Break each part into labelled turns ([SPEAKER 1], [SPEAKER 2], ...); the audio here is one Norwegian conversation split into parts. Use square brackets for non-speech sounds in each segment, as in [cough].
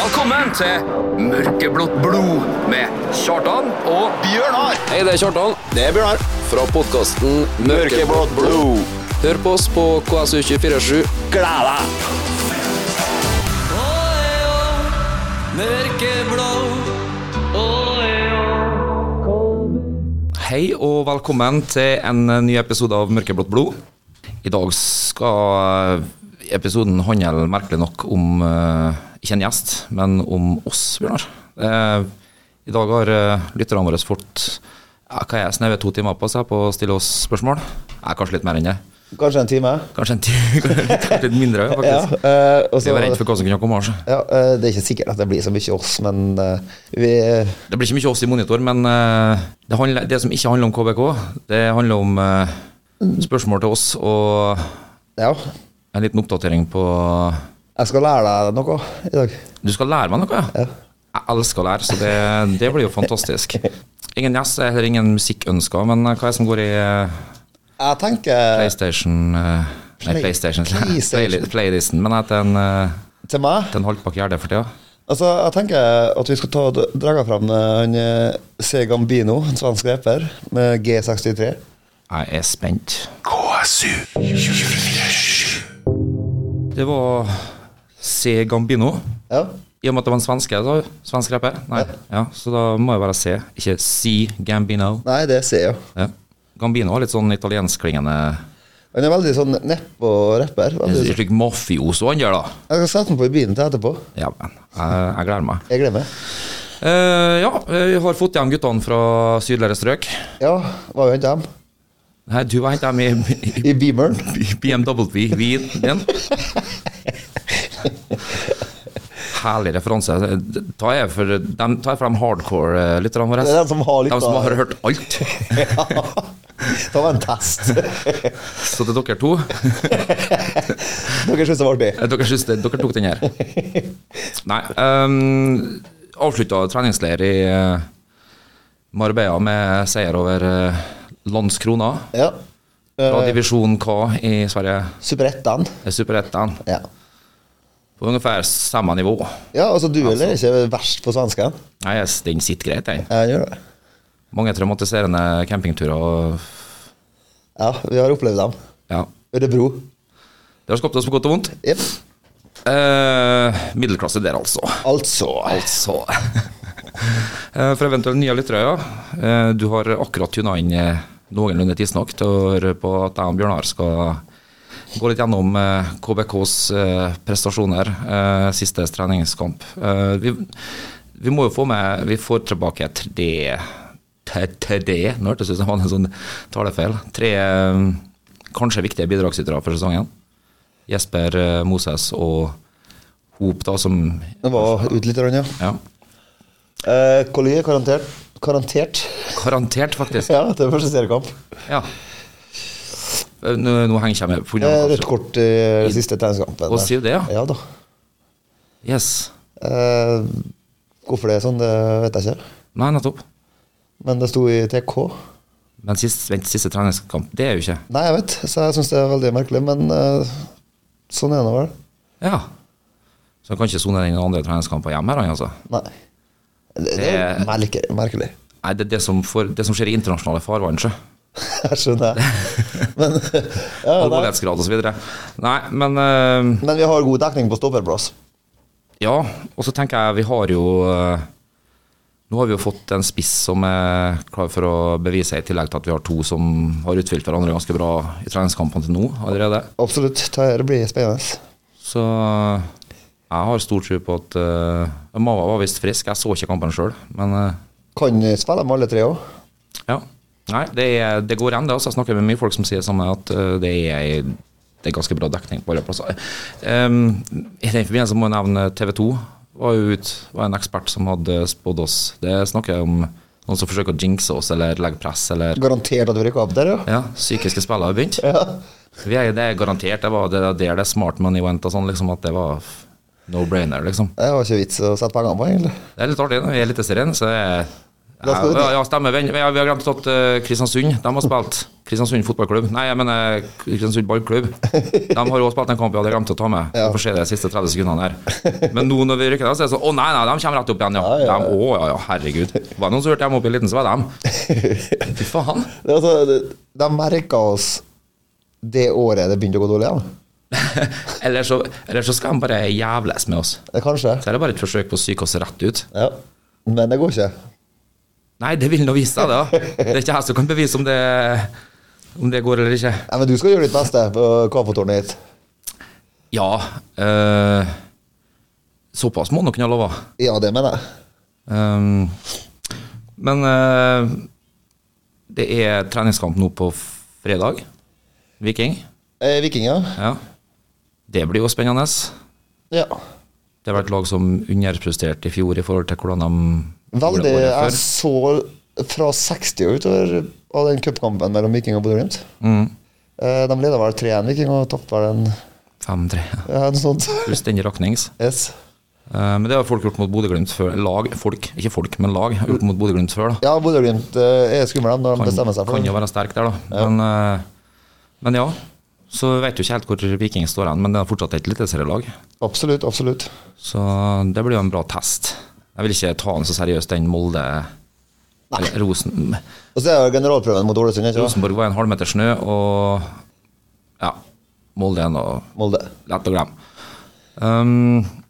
[SPEAKER 1] Velkommen til Mørkeblått blod med Kjartan og
[SPEAKER 2] Bjørnar
[SPEAKER 3] Hei, det er Kjartan
[SPEAKER 2] Det er Bjørnar
[SPEAKER 3] fra podkasten
[SPEAKER 2] Mørkeblått blod
[SPEAKER 3] Hør på oss på KSU247.
[SPEAKER 2] Gled deg
[SPEAKER 1] Hei og velkommen til en ny episode av Mørkeblått blod. I dag skal eh, episoden handle merkelig nok om eh, ikke en gjest, men om oss, Bjørnar. Eh, I dag har eh, lytterne våre fått ja, hva er det, snaue to timer på seg på å stille oss spørsmål. Ja, kanskje litt mer enn det.
[SPEAKER 2] Kanskje en time
[SPEAKER 1] Kanskje en time, [laughs] kanskje litt mindre,
[SPEAKER 2] Ja,
[SPEAKER 1] faktisk.
[SPEAKER 2] eh, og
[SPEAKER 1] Vi
[SPEAKER 2] så-
[SPEAKER 1] var redd for hva som kunne komme. Altså.
[SPEAKER 2] ja, eh, Det er ikke sikkert at det blir så mye oss Men eh, vi
[SPEAKER 1] Det blir ikke mye oss i monitor, men eh, det, handler, det som ikke handler om KBK, det handler om eh, spørsmål til oss og
[SPEAKER 2] Ja
[SPEAKER 1] en liten oppdatering på
[SPEAKER 2] Jeg skal lære deg noe i dag
[SPEAKER 1] Du skal lære meg noe, ja? Jeg elsker å lære, så det, det blir jo fantastisk. Ingen gjest, heller ingen musikkønsker, men hva er det som går i eh,
[SPEAKER 2] Jeg tenker
[SPEAKER 1] PlayStation eh, Nei,
[SPEAKER 2] Play-
[SPEAKER 1] PlayStation. [laughs]
[SPEAKER 2] PlayStation.
[SPEAKER 1] Play- Playlisten. Men etter en, eh,
[SPEAKER 2] til meg
[SPEAKER 1] til en halvpakk gjerde for tida.
[SPEAKER 2] Altså, jeg tenker at vi skal ta og dra- dra frem eh, Han eh, C. Gambino, en svensk rapper Med G63
[SPEAKER 1] Jeg er spent. Det var C. Gambino.
[SPEAKER 2] Ja
[SPEAKER 1] I og med at det var en svenske, sa du? Svensk rapper? Nei. Ja, så da må jeg bare C, ikke C. Gambino.
[SPEAKER 2] Nei, det ser jeg jo
[SPEAKER 1] Ja. Gambino har litt sånn italienskklingende
[SPEAKER 2] Han er veldig sånn neppo-rapper veldig-
[SPEAKER 1] Et slikt mafioso han gjør, da.
[SPEAKER 2] Jeg skal sette den på i bilen til etterpå
[SPEAKER 1] Ja, men jeg, jeg gleder meg.
[SPEAKER 2] Jeg glemmer
[SPEAKER 1] Eh, ja, vi har fått hjem guttene fra sydligere strøk.
[SPEAKER 2] Ja, var jo hentet dem
[SPEAKER 1] Nei, du har hentet dem i,
[SPEAKER 2] I
[SPEAKER 1] [laughs]
[SPEAKER 2] [laughs] Beameren
[SPEAKER 1] i BMW-hvil din. Herlig referanse. Ta jeg for dem, ta jeg for dem hardcore-lytterne våre.
[SPEAKER 2] Det er dem som har lyttet.
[SPEAKER 1] Dem som har hørt alt.
[SPEAKER 2] Det var en test.
[SPEAKER 1] Så til dere to
[SPEAKER 2] [laughs] Dere syns det var artig?
[SPEAKER 1] Eh, Dere syns det, dere tok den her. Nei. Um, Avslutta treningsleir i eh, Marbella med seier over eh, Landskrona.
[SPEAKER 2] Ja.
[SPEAKER 1] Fra divisjon K i Sverige,
[SPEAKER 2] Superettan.
[SPEAKER 1] eh, Superettan.
[SPEAKER 2] Ja.
[SPEAKER 1] På ungefær samme nivå.
[SPEAKER 2] ja, altså duell er ikke verst for svenskene.
[SPEAKER 1] Nei, yes, den sitter greit, den.
[SPEAKER 2] Ja, han gjør det.
[SPEAKER 1] Mange traumatiserende campingturer. og-
[SPEAKER 2] Ja, vi har opplevd dem.
[SPEAKER 1] Ja.
[SPEAKER 2] Ørebro.
[SPEAKER 1] Det har skapt oss på godt og vondt.
[SPEAKER 2] Jepp.
[SPEAKER 1] Eh, middelklasse der, altså.
[SPEAKER 2] Altså.
[SPEAKER 1] Altså. [laughs] Eh, For eventuelle nye lyttere, ja. Eh, Du har akkurat tuna inn eh, noenlunde tidsnok til å høre på at jeg og Bjørnar skal gå litt gjennom eh, KBKs eh, prestasjoner eh, siste treningskamp. Eh, Vi, vi må jo få med Vi får tilbake tre tre- tre- Nå hørtes det ut som det var en sånn talefeil. Tre eh, kanskje viktige bidragsytere for sesongen. Jesper eh, Moses og Hop, da, som
[SPEAKER 2] Det var ut litt, ja.
[SPEAKER 1] ja.
[SPEAKER 2] Eh, Collier karantert. Karantert.
[SPEAKER 1] Garantert, faktisk.
[SPEAKER 2] Ja, til første seriekamp.
[SPEAKER 1] Ja. Eh, Nå, nå henger ikke jeg med. på grunn
[SPEAKER 2] Eh,
[SPEAKER 1] av-
[SPEAKER 2] Rødt kort i den siste treningskampen.
[SPEAKER 1] Å, sier du det, ja?
[SPEAKER 2] Ja da.
[SPEAKER 1] Yes.
[SPEAKER 2] Eh, hvorfor det er sånn, det vet jeg ikke.
[SPEAKER 1] Nei, nettopp.
[SPEAKER 2] Men det sto i TK.
[SPEAKER 1] Men sist, vent, siste treningskamp, det er jo ikke
[SPEAKER 2] Nei, jeg vet, så jeg syns det er veldig merkelig, men eh, sånn er det vel.
[SPEAKER 1] Ja. Så han kan ikke sone den andre treningskampen hjemme her, han altså.
[SPEAKER 2] Nei. Det, det er
[SPEAKER 1] Det-
[SPEAKER 2] jo merkelig. merkelig. [laughs]
[SPEAKER 1] Nei, det er det som, får, det som skjer i internasjonale farvann, sjø.
[SPEAKER 2] Jeg skjønner. Men, ja, nei.
[SPEAKER 1] Alvorlighetsgrad og så videre. Nei, men eh,
[SPEAKER 2] men vi har god dekning på stopperplass.
[SPEAKER 1] Ja. Og så tenker jeg vi har jo eh, Nå har vi jo fått en spiss som er klar for å bevise, i tillegg til at vi har to som har utfylt hverandre ganske bra i treningskampene til nå allerede.
[SPEAKER 2] Absolutt. Dette blir spennende.
[SPEAKER 1] Så eh, jeg har stor tro på at eh, Mava var visst frisk, jeg så ikke kampen sjøl. Men eh,
[SPEAKER 2] Kan spille med alle tre òg.
[SPEAKER 1] ja. Nei, det, er, det går an, det. Altså. Jeg snakker med mye folk som sier samme at eh, det, er, det er ganske bra dekning på alle plasser. Em, I den forbindelse må jeg nevne TV 2. Var jo ut, var en ekspert som hadde spådd oss. Det snakker jeg om noen som forsøker å jinxe oss eller legge press eller
[SPEAKER 2] Garantert at vi rykker opp der, ja.
[SPEAKER 1] Ja, psykiske spillere har begynt.
[SPEAKER 2] ja.
[SPEAKER 1] Vi er, det er garantert. Det var det der det er smart money went og sånn, liksom at det var no brainer, liksom.
[SPEAKER 2] Det var ikke vits å sette pengene på, egentlig. [laughs]
[SPEAKER 1] Det er litt artig når vi er litt serene, så er
[SPEAKER 2] Da skal du
[SPEAKER 1] Ja, ja, stemmer. Vi, vi har glemt at eh, Kristiansund de har spilt. Kristiansund fotballklubb. Nei, jeg mener eh, Kristiansund ballklubb. De har også spilt en kamp jeg hadde glemt å ta med. Du får se det de siste 30 sekundene her. Men nå når vi rykker ned, så er det sånn Å nei, nei, de kommer rett opp igjen, ja.
[SPEAKER 2] Ja, ja, ja.
[SPEAKER 1] De, å ja, ja, herregud. Var det noen som hørte dem opp i liten, så var det dem. Fy faen. [laughs]
[SPEAKER 2] Det er altså, det- de merka oss det året det begynte å gå dårlig igjen.
[SPEAKER 1] Eller så, eller så skal de bare jævles med oss.
[SPEAKER 2] Det er Kanskje.
[SPEAKER 1] Så er det bare et forsøk på å psyke oss rett ut.
[SPEAKER 2] Ja. Men det går ikke.
[SPEAKER 1] Nei, det vil nå vise seg, det. da. Det er ikke jeg som kan bevise om det, om det går eller ikke.
[SPEAKER 2] Nei, men du skal gjøre ditt beste på kamptårnet ditt.
[SPEAKER 1] Ja. Eh, såpass må nok kunne ha lova.
[SPEAKER 2] Ja, det mener jeg.
[SPEAKER 1] Ehm, men eh, det er treningskamp nå på fredag. Viking.
[SPEAKER 2] Eh, Vikinger?
[SPEAKER 1] Ja. Det blir jo spennende.
[SPEAKER 2] Ja.
[SPEAKER 1] Det var et lag som underpresterte i fjor i forhold til hvordan de gjorde
[SPEAKER 2] Veldig.
[SPEAKER 1] året
[SPEAKER 2] Jeg
[SPEAKER 1] før.
[SPEAKER 2] så fra 60 og utover av den cupkampen mellom Viking og Bodø-Glimt.
[SPEAKER 1] Mm.
[SPEAKER 2] Eh, De leda vel 3-1 Viking og tapte vel en
[SPEAKER 1] 5-3.
[SPEAKER 2] ja, noe sånt.
[SPEAKER 1] Fullstendig raknings.
[SPEAKER 2] Yes.
[SPEAKER 1] Eh, Men det har folk gjort mot Bodø-Glimt før. Lag, folk, ikke folk, men lag har gjort mot Bodø-Glimt før. da.
[SPEAKER 2] Ja, Bodø-Glimt eh, er skumle de, når de bestemmer seg for
[SPEAKER 1] Kan
[SPEAKER 2] det.
[SPEAKER 1] jo være sterk der, da. Men, eh, men ja. Så vet du ikke helt hvor Viking står hen, men det er fortsatt et eliteserielag.
[SPEAKER 2] Absolutt, absolutt.
[SPEAKER 1] Så det blir jo en bra test. Jeg vil ikke ta den så seriøst, den Molde eller Rosen,
[SPEAKER 2] Og så er jo generalprøven mot Ålesund, ikke sant?
[SPEAKER 1] Rosenborg var en halvmeter snø, og ja, Molde er noe
[SPEAKER 2] Molde.
[SPEAKER 1] lett å glemme. Um,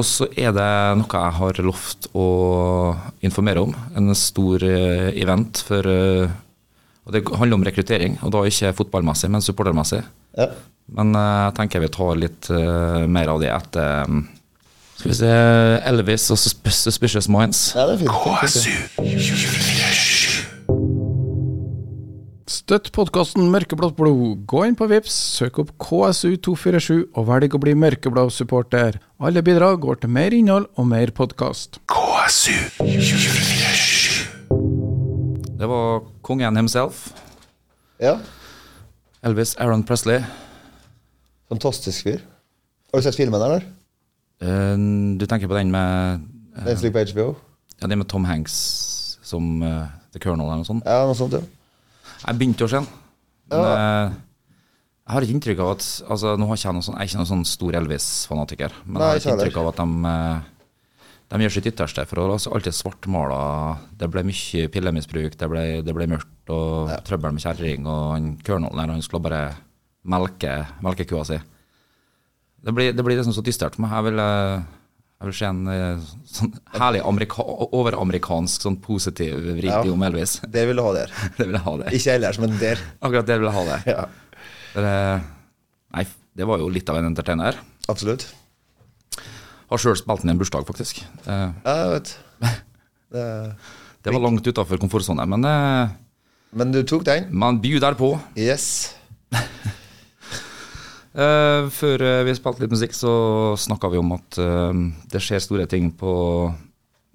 [SPEAKER 1] og så er det noe jeg har lovt å informere om. En stor eh, event for eh, Og det handler om rekruttering, og da ikke fotballmessig, men supportermessig.
[SPEAKER 2] Ja.
[SPEAKER 1] Men eh, jeg tenker vi tar litt eh, mer av det etter um, Skal vi se Elvis og Susp- Suspicious Minds.
[SPEAKER 2] ja, det er fint. fint, fint.
[SPEAKER 4] Støtt podkasten Mørkeblått blod. Gå inn på Vips, søk opp KSU247 og velg å bli mørkeblå supporter. Alle bidrag går til mer innhold og mer podkast.
[SPEAKER 1] Det var kongen himself.
[SPEAKER 2] Ja.
[SPEAKER 1] Elvis Aaron Presley.
[SPEAKER 2] Fantastisk fyr. Har du sett filmen, eller?
[SPEAKER 1] Eh, du tenker på den med,
[SPEAKER 2] Den som ligger på HBO?
[SPEAKER 1] ja, den med Tom Hanks som eh, The Colonel eller noe sånt?
[SPEAKER 2] Ja, noe sånt, ja.
[SPEAKER 1] Jeg begynte å se den. Men eh, jeg har ikke inntrykk av at altså, nå har ikke jeg, noen sånn, jeg er ikke noen sånn stor Elvis-fanatiker, men
[SPEAKER 2] Nei,
[SPEAKER 1] jeg har ikke
[SPEAKER 2] ikke heller.
[SPEAKER 1] inntrykk av at de, eh, de gjør sitt ytterste. For det var altså alltid svartmala. Det ble mye pillemisbruk, det ble, det ble mørkt og trøbbel med kjerring. Og han colonelen her, han skulle bare melke, melke kua si. Det blir, det blir liksom så dystert for meg. Jeg vil, eh, jeg vil se en eh, sånn herlig amerika overamerikansk, sånn positiv vri
[SPEAKER 2] Ja.
[SPEAKER 1] om Elvis. [laughs]
[SPEAKER 2] Det vil du ha [laughs] der.
[SPEAKER 1] Det vil jeg ha, det.
[SPEAKER 2] Ikke ellers, men der.
[SPEAKER 1] Akkurat der vil jeg ha det.
[SPEAKER 2] Ja.
[SPEAKER 1] For, eh, nei, det var jo litt av en entertainer.
[SPEAKER 2] Absolutt.
[SPEAKER 1] Har sjøl spilt den i en bursdag, faktisk. Eh,
[SPEAKER 2] Ja, jeg vet. [laughs] Det...
[SPEAKER 1] Det var langt utafor komfortsona, men, eh,
[SPEAKER 2] Men du tok den?
[SPEAKER 1] men by der på.
[SPEAKER 2] Yes.
[SPEAKER 1] Eh, Før eh, vi spilte litt musikk, så snakka vi om at eh, det skjer store ting på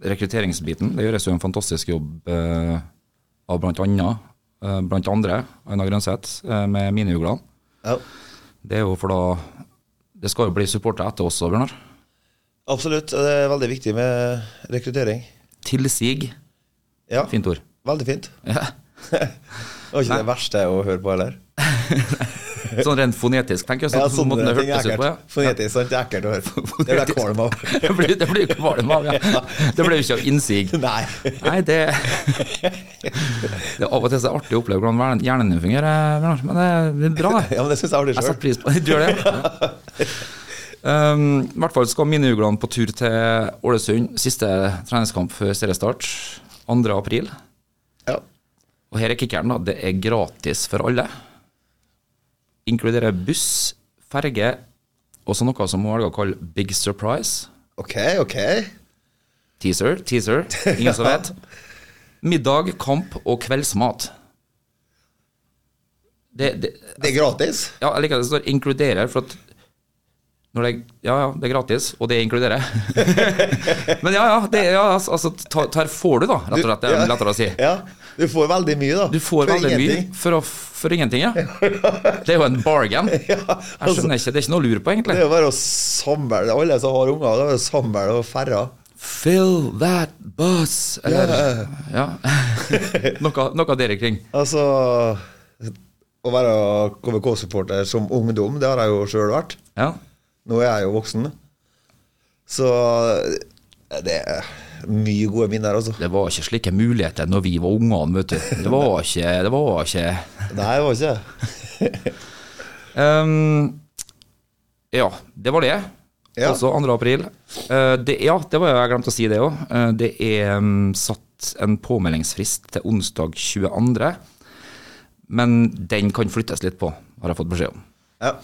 [SPEAKER 1] rekrutteringsbiten. Det gjøres jo en fantastisk jobb eh, av blant annet, eh, blant andre, Aina Grønseth, eh, med miniuglene.
[SPEAKER 2] Ja.
[SPEAKER 1] Det er jo for da Det skal jo bli supportere etter oss, Bjørnar.
[SPEAKER 2] Absolutt. og Det er veldig viktig med rekruttering.
[SPEAKER 1] Tilsig.
[SPEAKER 2] Ja,
[SPEAKER 1] Fint ord.
[SPEAKER 2] veldig fint.
[SPEAKER 1] Ja.
[SPEAKER 2] Det var ikke det verste å høre på heller.
[SPEAKER 1] Sånn rent fonetisk, tenker jeg. Sånn,
[SPEAKER 2] Ja,
[SPEAKER 1] ja, sånn
[SPEAKER 2] sånne
[SPEAKER 1] måten det
[SPEAKER 2] ting er
[SPEAKER 1] hørtes ut på, ja.
[SPEAKER 2] ekkelt. Fonetisk, sant? Det er ekkelt å høre på. Det blir jeg kvalm av.
[SPEAKER 1] Det blir, det blir jo kvalm
[SPEAKER 2] [laughs]
[SPEAKER 1] av, ja. Det blir jo ikke av innsig.
[SPEAKER 2] Nei.
[SPEAKER 1] [laughs] Nei, det,
[SPEAKER 2] [laughs]
[SPEAKER 1] det er Av og til så er det artig å oppleve hvordan hver- hjernen din fungerer, Bjørnar, men det er- det er bra, det.
[SPEAKER 2] Ja, men det syns jeg er artig
[SPEAKER 1] Jeg setter
[SPEAKER 2] sjøl.
[SPEAKER 1] pris på det. Du gjør det? Ja. [laughs] Um, I hvert fall skal miniuglene på tur til Ålesund. Siste treningskamp før seriestart 2. april.
[SPEAKER 2] Ja.
[SPEAKER 1] Og her er kickeren, da. Det er gratis for alle. Inkluderer buss, ferge og så noe som hun velger å kalle Big Surprise.
[SPEAKER 2] Ok, ok.
[SPEAKER 1] Teaser, teaser. Ingen som vet. Middag, kamp og kveldsmat. Det, det,
[SPEAKER 2] Det er gratis.
[SPEAKER 1] ja, jeg liker at det står 'inkluderer', for at når det, ja, ja, det er gratis, og det inkluderer. [laughs] Men ja, ja, det, ja altså, ta- ta her får du, da, rett og slett. Det
[SPEAKER 2] Ja.
[SPEAKER 1] er lettere å si.
[SPEAKER 2] Ja, du får veldig mye, da.
[SPEAKER 1] Du får
[SPEAKER 2] For
[SPEAKER 1] veldig mye
[SPEAKER 2] ingenting. [laughs]
[SPEAKER 1] for, å, for ingenting, ja. Det er jo en bargain. Jeg
[SPEAKER 2] Ja, altså,
[SPEAKER 1] skjønner ikke, det er ikke noe å lure på,
[SPEAKER 2] det
[SPEAKER 1] egentlig.
[SPEAKER 2] er jo bare å samle Alle som har unger, det er bare å samle og færre.
[SPEAKER 1] Fill that bus! Eller
[SPEAKER 2] Ja.
[SPEAKER 1] Ja. [laughs] noe, noe der ikring.
[SPEAKER 2] [laughs] Altså Å være KVK-supporter som ungdom, det har jeg jo sjøl vært.
[SPEAKER 1] Ja.
[SPEAKER 2] Nå er jeg jo voksen. Så det er mye gode minner, altså.
[SPEAKER 1] Det var ikke slike muligheter når vi var ungene, vet du. Det var ikke, det var ikke
[SPEAKER 2] Nei, det var ikke det.
[SPEAKER 1] Ehm, ja, det var det.
[SPEAKER 2] Ja.
[SPEAKER 1] Altså 2. april. Eh, det, ja, det var jo, jeg glemte å si det òg. det er mm, satt en påmeldingsfrist til onsdag 22. Men den kan flyttes litt på, har jeg fått beskjed om.
[SPEAKER 2] Ja.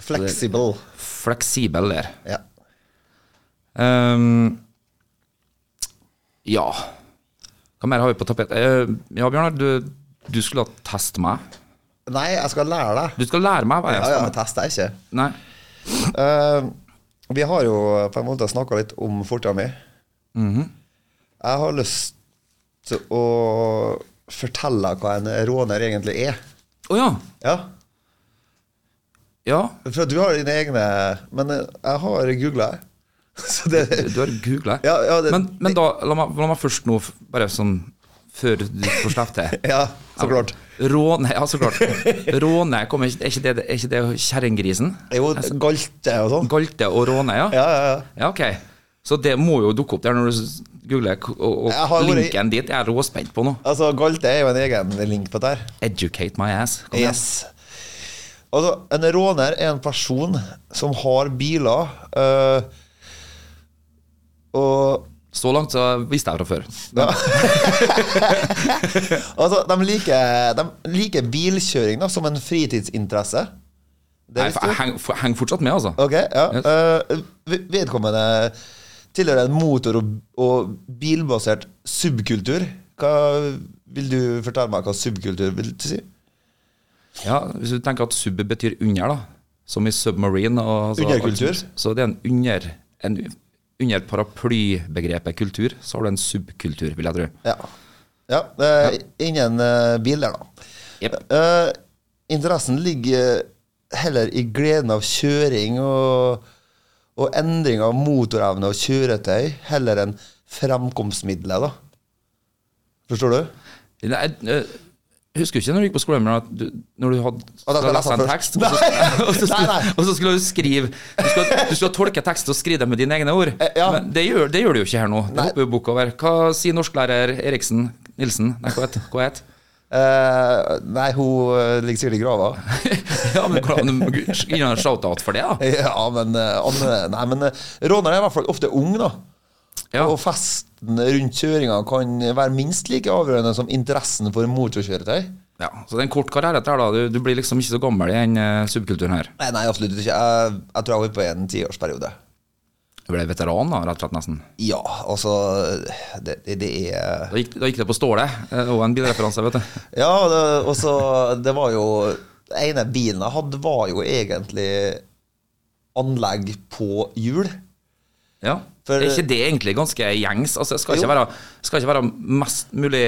[SPEAKER 2] Flexible.
[SPEAKER 1] Fleksibel der.
[SPEAKER 2] Ja.
[SPEAKER 1] Ehm, ja Hva mer har vi på tapet? Eh, ja, Bjørnar, du, du skulle teste meg.
[SPEAKER 2] Nei, jeg skal lære deg.
[SPEAKER 1] Du skal lære meg hva jeg
[SPEAKER 2] Ja, ja, men
[SPEAKER 1] skal.
[SPEAKER 2] test deg ikke.
[SPEAKER 1] Nei.
[SPEAKER 2] Eh, vi har jo på en måte snakka litt om fortida mi. Mhm. Jeg har lyst til å fortelle hva en råner egentlig er.
[SPEAKER 1] Å ja.
[SPEAKER 2] Ja,
[SPEAKER 1] Ja.
[SPEAKER 2] For du har dine egne Men eh, jeg har googla, jeg. [laughs] Så det
[SPEAKER 1] Du har googla?
[SPEAKER 2] Ja, ja, det-
[SPEAKER 1] men, men da, la meg, la meg først nå, f- bare sånn før du får slippe til.
[SPEAKER 2] Ja, [laughs] så klart.
[SPEAKER 1] Råne, ja, så klart. Råne, kommer ikke- er ikke det, er ikke det kjerringgrisen?
[SPEAKER 2] Jo,
[SPEAKER 1] Altså-
[SPEAKER 2] galte og sånn.
[SPEAKER 1] Galte og råne, ja?
[SPEAKER 2] Ja, ja, ja.
[SPEAKER 1] Ja, ok. Så det må jo dukke opp der når du s- googler, k- og,
[SPEAKER 2] Jeg
[SPEAKER 1] og
[SPEAKER 2] har vært i-
[SPEAKER 1] linken dit er jeg råspent på nå.
[SPEAKER 2] Altså, galte er jo en egen link på dette. her.
[SPEAKER 1] Educate my ass. Kom igjen.
[SPEAKER 2] Yes. Altså, en råner er en person som har biler eh, og
[SPEAKER 1] Så langt så visste jeg fra før.
[SPEAKER 2] Altså, de liker, de liker bilkjøring da, som en fritidsinteresse. Det
[SPEAKER 1] Jeg,
[SPEAKER 2] visste
[SPEAKER 1] jeg
[SPEAKER 2] du?
[SPEAKER 1] henger f- henger fortsatt med, altså.
[SPEAKER 2] Ok, ja.
[SPEAKER 1] Yes.
[SPEAKER 2] Eh, ved- vedkommende tilhører en motor- og, og bilbasert subkultur. Hva vil du fortelle meg hva subkultur vil si?
[SPEAKER 1] Ja, Hvis du tenker at sub betyr under, da, som i submarine og, altså,
[SPEAKER 2] Underkultur?
[SPEAKER 1] alt- Så det er en under en, Under paraplybegrepet kultur, så har du en subkultur, vil jeg tro.
[SPEAKER 2] Ja. ja eh, Ingen eh, bil der, da.
[SPEAKER 1] Jep.
[SPEAKER 2] Eh, interessen ligger heller i gleden av kjøring og, og endring av motorevne og kjøretøy, heller enn fremkomstmidler, da. Forstår du?
[SPEAKER 1] Jeg, jeg husker ikke når du gikk på skolen, men at du, når du hadde
[SPEAKER 2] Og da skal jeg lese den
[SPEAKER 1] en
[SPEAKER 2] først.
[SPEAKER 1] tekst, og så, [laughs] og, så skulle,
[SPEAKER 2] Nei, nei.
[SPEAKER 1] og så skulle du skrive Du skulle, du skulle tolke tekst og skrive det med dine egne ord.
[SPEAKER 2] Eh, ja.
[SPEAKER 1] Men det gjør, det gjør du jo ikke her nå. Du
[SPEAKER 2] Nei.
[SPEAKER 1] hopper jo bukk over. Hva sier norsklærer Eriksen Nilsen? Nei, hva het hva het? [laughs]
[SPEAKER 2] Eh, nei, hun eh, ligger sikkert i grava. [laughs]
[SPEAKER 1] Ja, men hvordan- Gi ham en shout-out for det, da.
[SPEAKER 2] ja, men, eh, Anne, nei, men eh, rånere er i hvert fall ofte ung, da.
[SPEAKER 1] Ja.
[SPEAKER 2] Og festen rundt kjøringa kan være minst like avgjørende som interessen for motorkjøretøy.
[SPEAKER 1] Ja, så det er en kort karriere etter her da. Du, du blir liksom ikke så gammel i den eh, subkulturen her.
[SPEAKER 2] Nei, nei, absolutt ikke. Jeg, jeg tror jeg var på en tiårsperiode.
[SPEAKER 1] Du ble veteran da, rett og slett nesten.
[SPEAKER 2] Ja, altså Det, det, det er
[SPEAKER 1] Da gikk, da gikk det på stålet, eh, og en bilreferanse, vet du.
[SPEAKER 2] Ja, det, og så Det var jo Den ene bilen jeg hadde, var jo egentlig anlegg på hjul.
[SPEAKER 1] Ja.
[SPEAKER 2] For-
[SPEAKER 1] er ikke det egentlig ganske gjengs? Altså, det skal
[SPEAKER 2] Jo.
[SPEAKER 1] ikke, være, skal ikke være mest mulig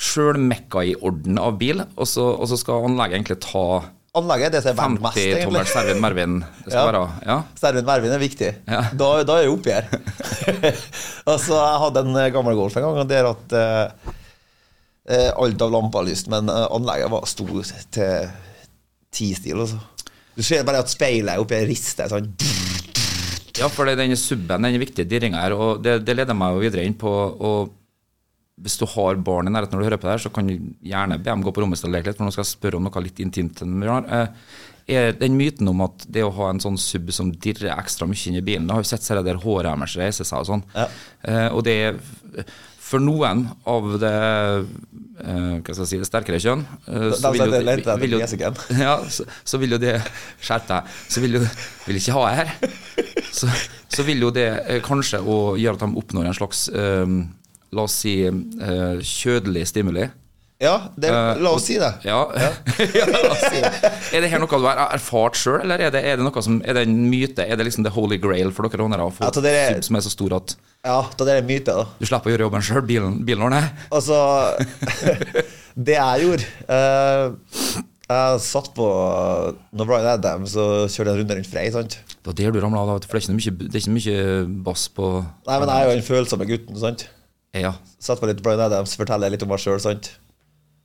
[SPEAKER 1] sjølmekka i orden av bil, og så, og så skal anlegget egentlig ta
[SPEAKER 2] Anlegget er det som er verdt mest,
[SPEAKER 1] 50 tommers
[SPEAKER 2] egentlig.
[SPEAKER 1] Servin Mervin. Det skal
[SPEAKER 2] Ja.
[SPEAKER 1] være, ja.
[SPEAKER 2] Stervin Vervin er viktig.
[SPEAKER 1] Ja.
[SPEAKER 2] [laughs] Da, da er jeg oppi her. [laughs] altså, jeg hadde en eh, gammel Golf en gang, og der at eh, eh, alt av lamper lyst, men eh, anlegget var stort til ti-stil, altså. Du ser bare at speilet er oppi ei riste. Sånn.
[SPEAKER 1] Ja, for det- denne subben, den viktige dirringa her, og det, det leder meg jo videre inn på og Hvis du har barn i nærheten når du hører på det her, så kan du gjerne be dem gå på rommet og leke litt, for nå skal jeg spørre om noe litt intimt. til dem, Bjørnar. Eh, Er den myten om at det å ha en sånn sub som dirrer ekstra mye inn i bilen Jeg har jo sett sånne der hårhemmers reise seg og sånn.
[SPEAKER 2] Ja.
[SPEAKER 1] Eh, og det er For noen av det eh, hva skal jeg si, det sterkere kjønn eh, så
[SPEAKER 2] Da- da
[SPEAKER 1] vil jo
[SPEAKER 2] setter jeg
[SPEAKER 1] det-
[SPEAKER 2] lett etter
[SPEAKER 1] vil jo-
[SPEAKER 2] fjesingen.
[SPEAKER 1] ja, så, så vil jo det Skjerp deg. Så vil jo Vil ikke ha jeg her. Så, så vil jo det eh, kanskje å gjøre at de oppnår en slags eh, La oss si eh, kjødelig stimuli.
[SPEAKER 2] Ja, det,
[SPEAKER 1] Eh,
[SPEAKER 2] la
[SPEAKER 1] og-
[SPEAKER 2] oss si det.
[SPEAKER 1] Ja. [laughs] Ja, la oss si det. Er det her noe du har erfart sjøl, eller er det, er det noe som Er det en myte? Er det liksom the holy grail for dere håndere å få
[SPEAKER 2] Ja, så dere-
[SPEAKER 1] sub som er så stor at
[SPEAKER 2] Ja, da det er en myte, da.
[SPEAKER 1] du slipper å gjøre jobben sjøl? Bilen, bilen ordner?
[SPEAKER 2] Altså [laughs] Det jeg gjorde eh, Jeg satt på Når Bryan Adams og kjørte en runde rundt Frei, sant?
[SPEAKER 1] Det var der du ramla av, da, vet du, for det er ikke noe mye, det er ikke noe mye bass på
[SPEAKER 2] Nei, men jeg er jo den følsomme gutten, sant.
[SPEAKER 1] Ja.
[SPEAKER 2] Sett på litt Brian Adams, forteller litt om meg sjøl, sant.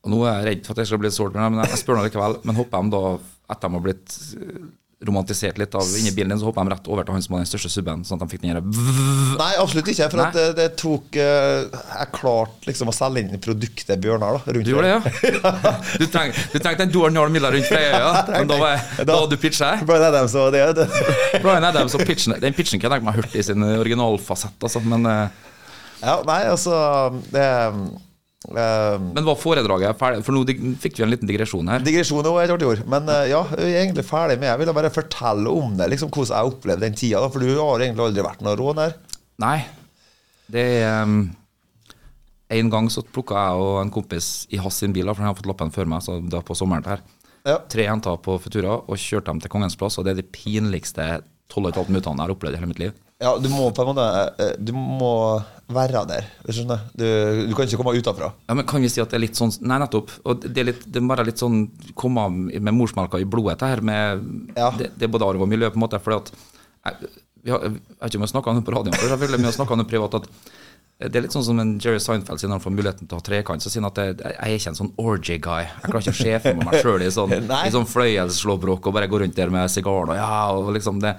[SPEAKER 1] Og nå er jeg redd for at jeg skal bli litt sårt, med dem, men jeg spør nå likevel. Men hopper de da, etter de har blitt eh, romantisert litt av inni bilen din, så hopper de rett over til han som var den største subben, sånn at de fikk den derre
[SPEAKER 2] Nei, absolutt ikke. For
[SPEAKER 1] Nei.
[SPEAKER 2] at det, det tok eh, Jeg klarte liksom å selge inn produktet Bjørnar, da. Rundt
[SPEAKER 1] Du gjorde det, ja? [laughs] Du trengte du trengte en Dorn Jarl Miller rundt flere øyne, [laughs] men da var, jeg, da var du pitcha? [laughs]
[SPEAKER 2] Brian Adams og det, det. [laughs]
[SPEAKER 1] Brian Adams og pitchen Den pitchen kan jeg tenke meg hørt i sin originalfasett, altså, men, eh,
[SPEAKER 2] Ja, nei, altså det, um,
[SPEAKER 1] men var foredraget ferdig? For nå dig- fikk vi en liten digresjon her.
[SPEAKER 2] Digresjon er også et artig ord. Men eh, ja, jeg er egentlig ferdig med Jeg ville bare fortelle om det, liksom hvordan jeg opplevde den tida. da, For du har egentlig aldri vært noe rån her.
[SPEAKER 1] Nei, det er um, En gang så plukka jeg og en kompis i hans sin bil, da, for han har fått lappen før meg, så da på sommeren her.
[SPEAKER 2] Ja.
[SPEAKER 1] Tre jenter på Futura og kjørte dem til Kongens plass, og det er det pinligste 12,5 minuttene jeg har opplevd i hele mitt liv.
[SPEAKER 2] Ja, du må på en måte eh, Du må være der. hvis Du, skjønner. du, du kan ikke komme utafra.
[SPEAKER 1] Ja, men Kan vi si at det er litt sånn Nei, nettopp. Og det er, litt, det er bare litt sånn komme av med morsmelka i blodet, dette her med
[SPEAKER 2] Ja.
[SPEAKER 1] det, det er både arv og miljø, på en måte. Fordi at jeg, vi har, jeg vet ikke om jeg snakka om det på radioen før, selvfølgelig, men jeg snakka om det privat. at det er litt sånn som en Jerry Seinfeld sier når han får muligheten til å ha trekant, så sier han at jeg, jeg er ikke en sånn orgy guy. Jeg klarer ikke å se for meg meg sjøl i sånn,
[SPEAKER 2] [laughs] Nei.
[SPEAKER 1] i sånn fløyelsslåbrok og bare gå rundt der med sigaren og ja, og liksom det.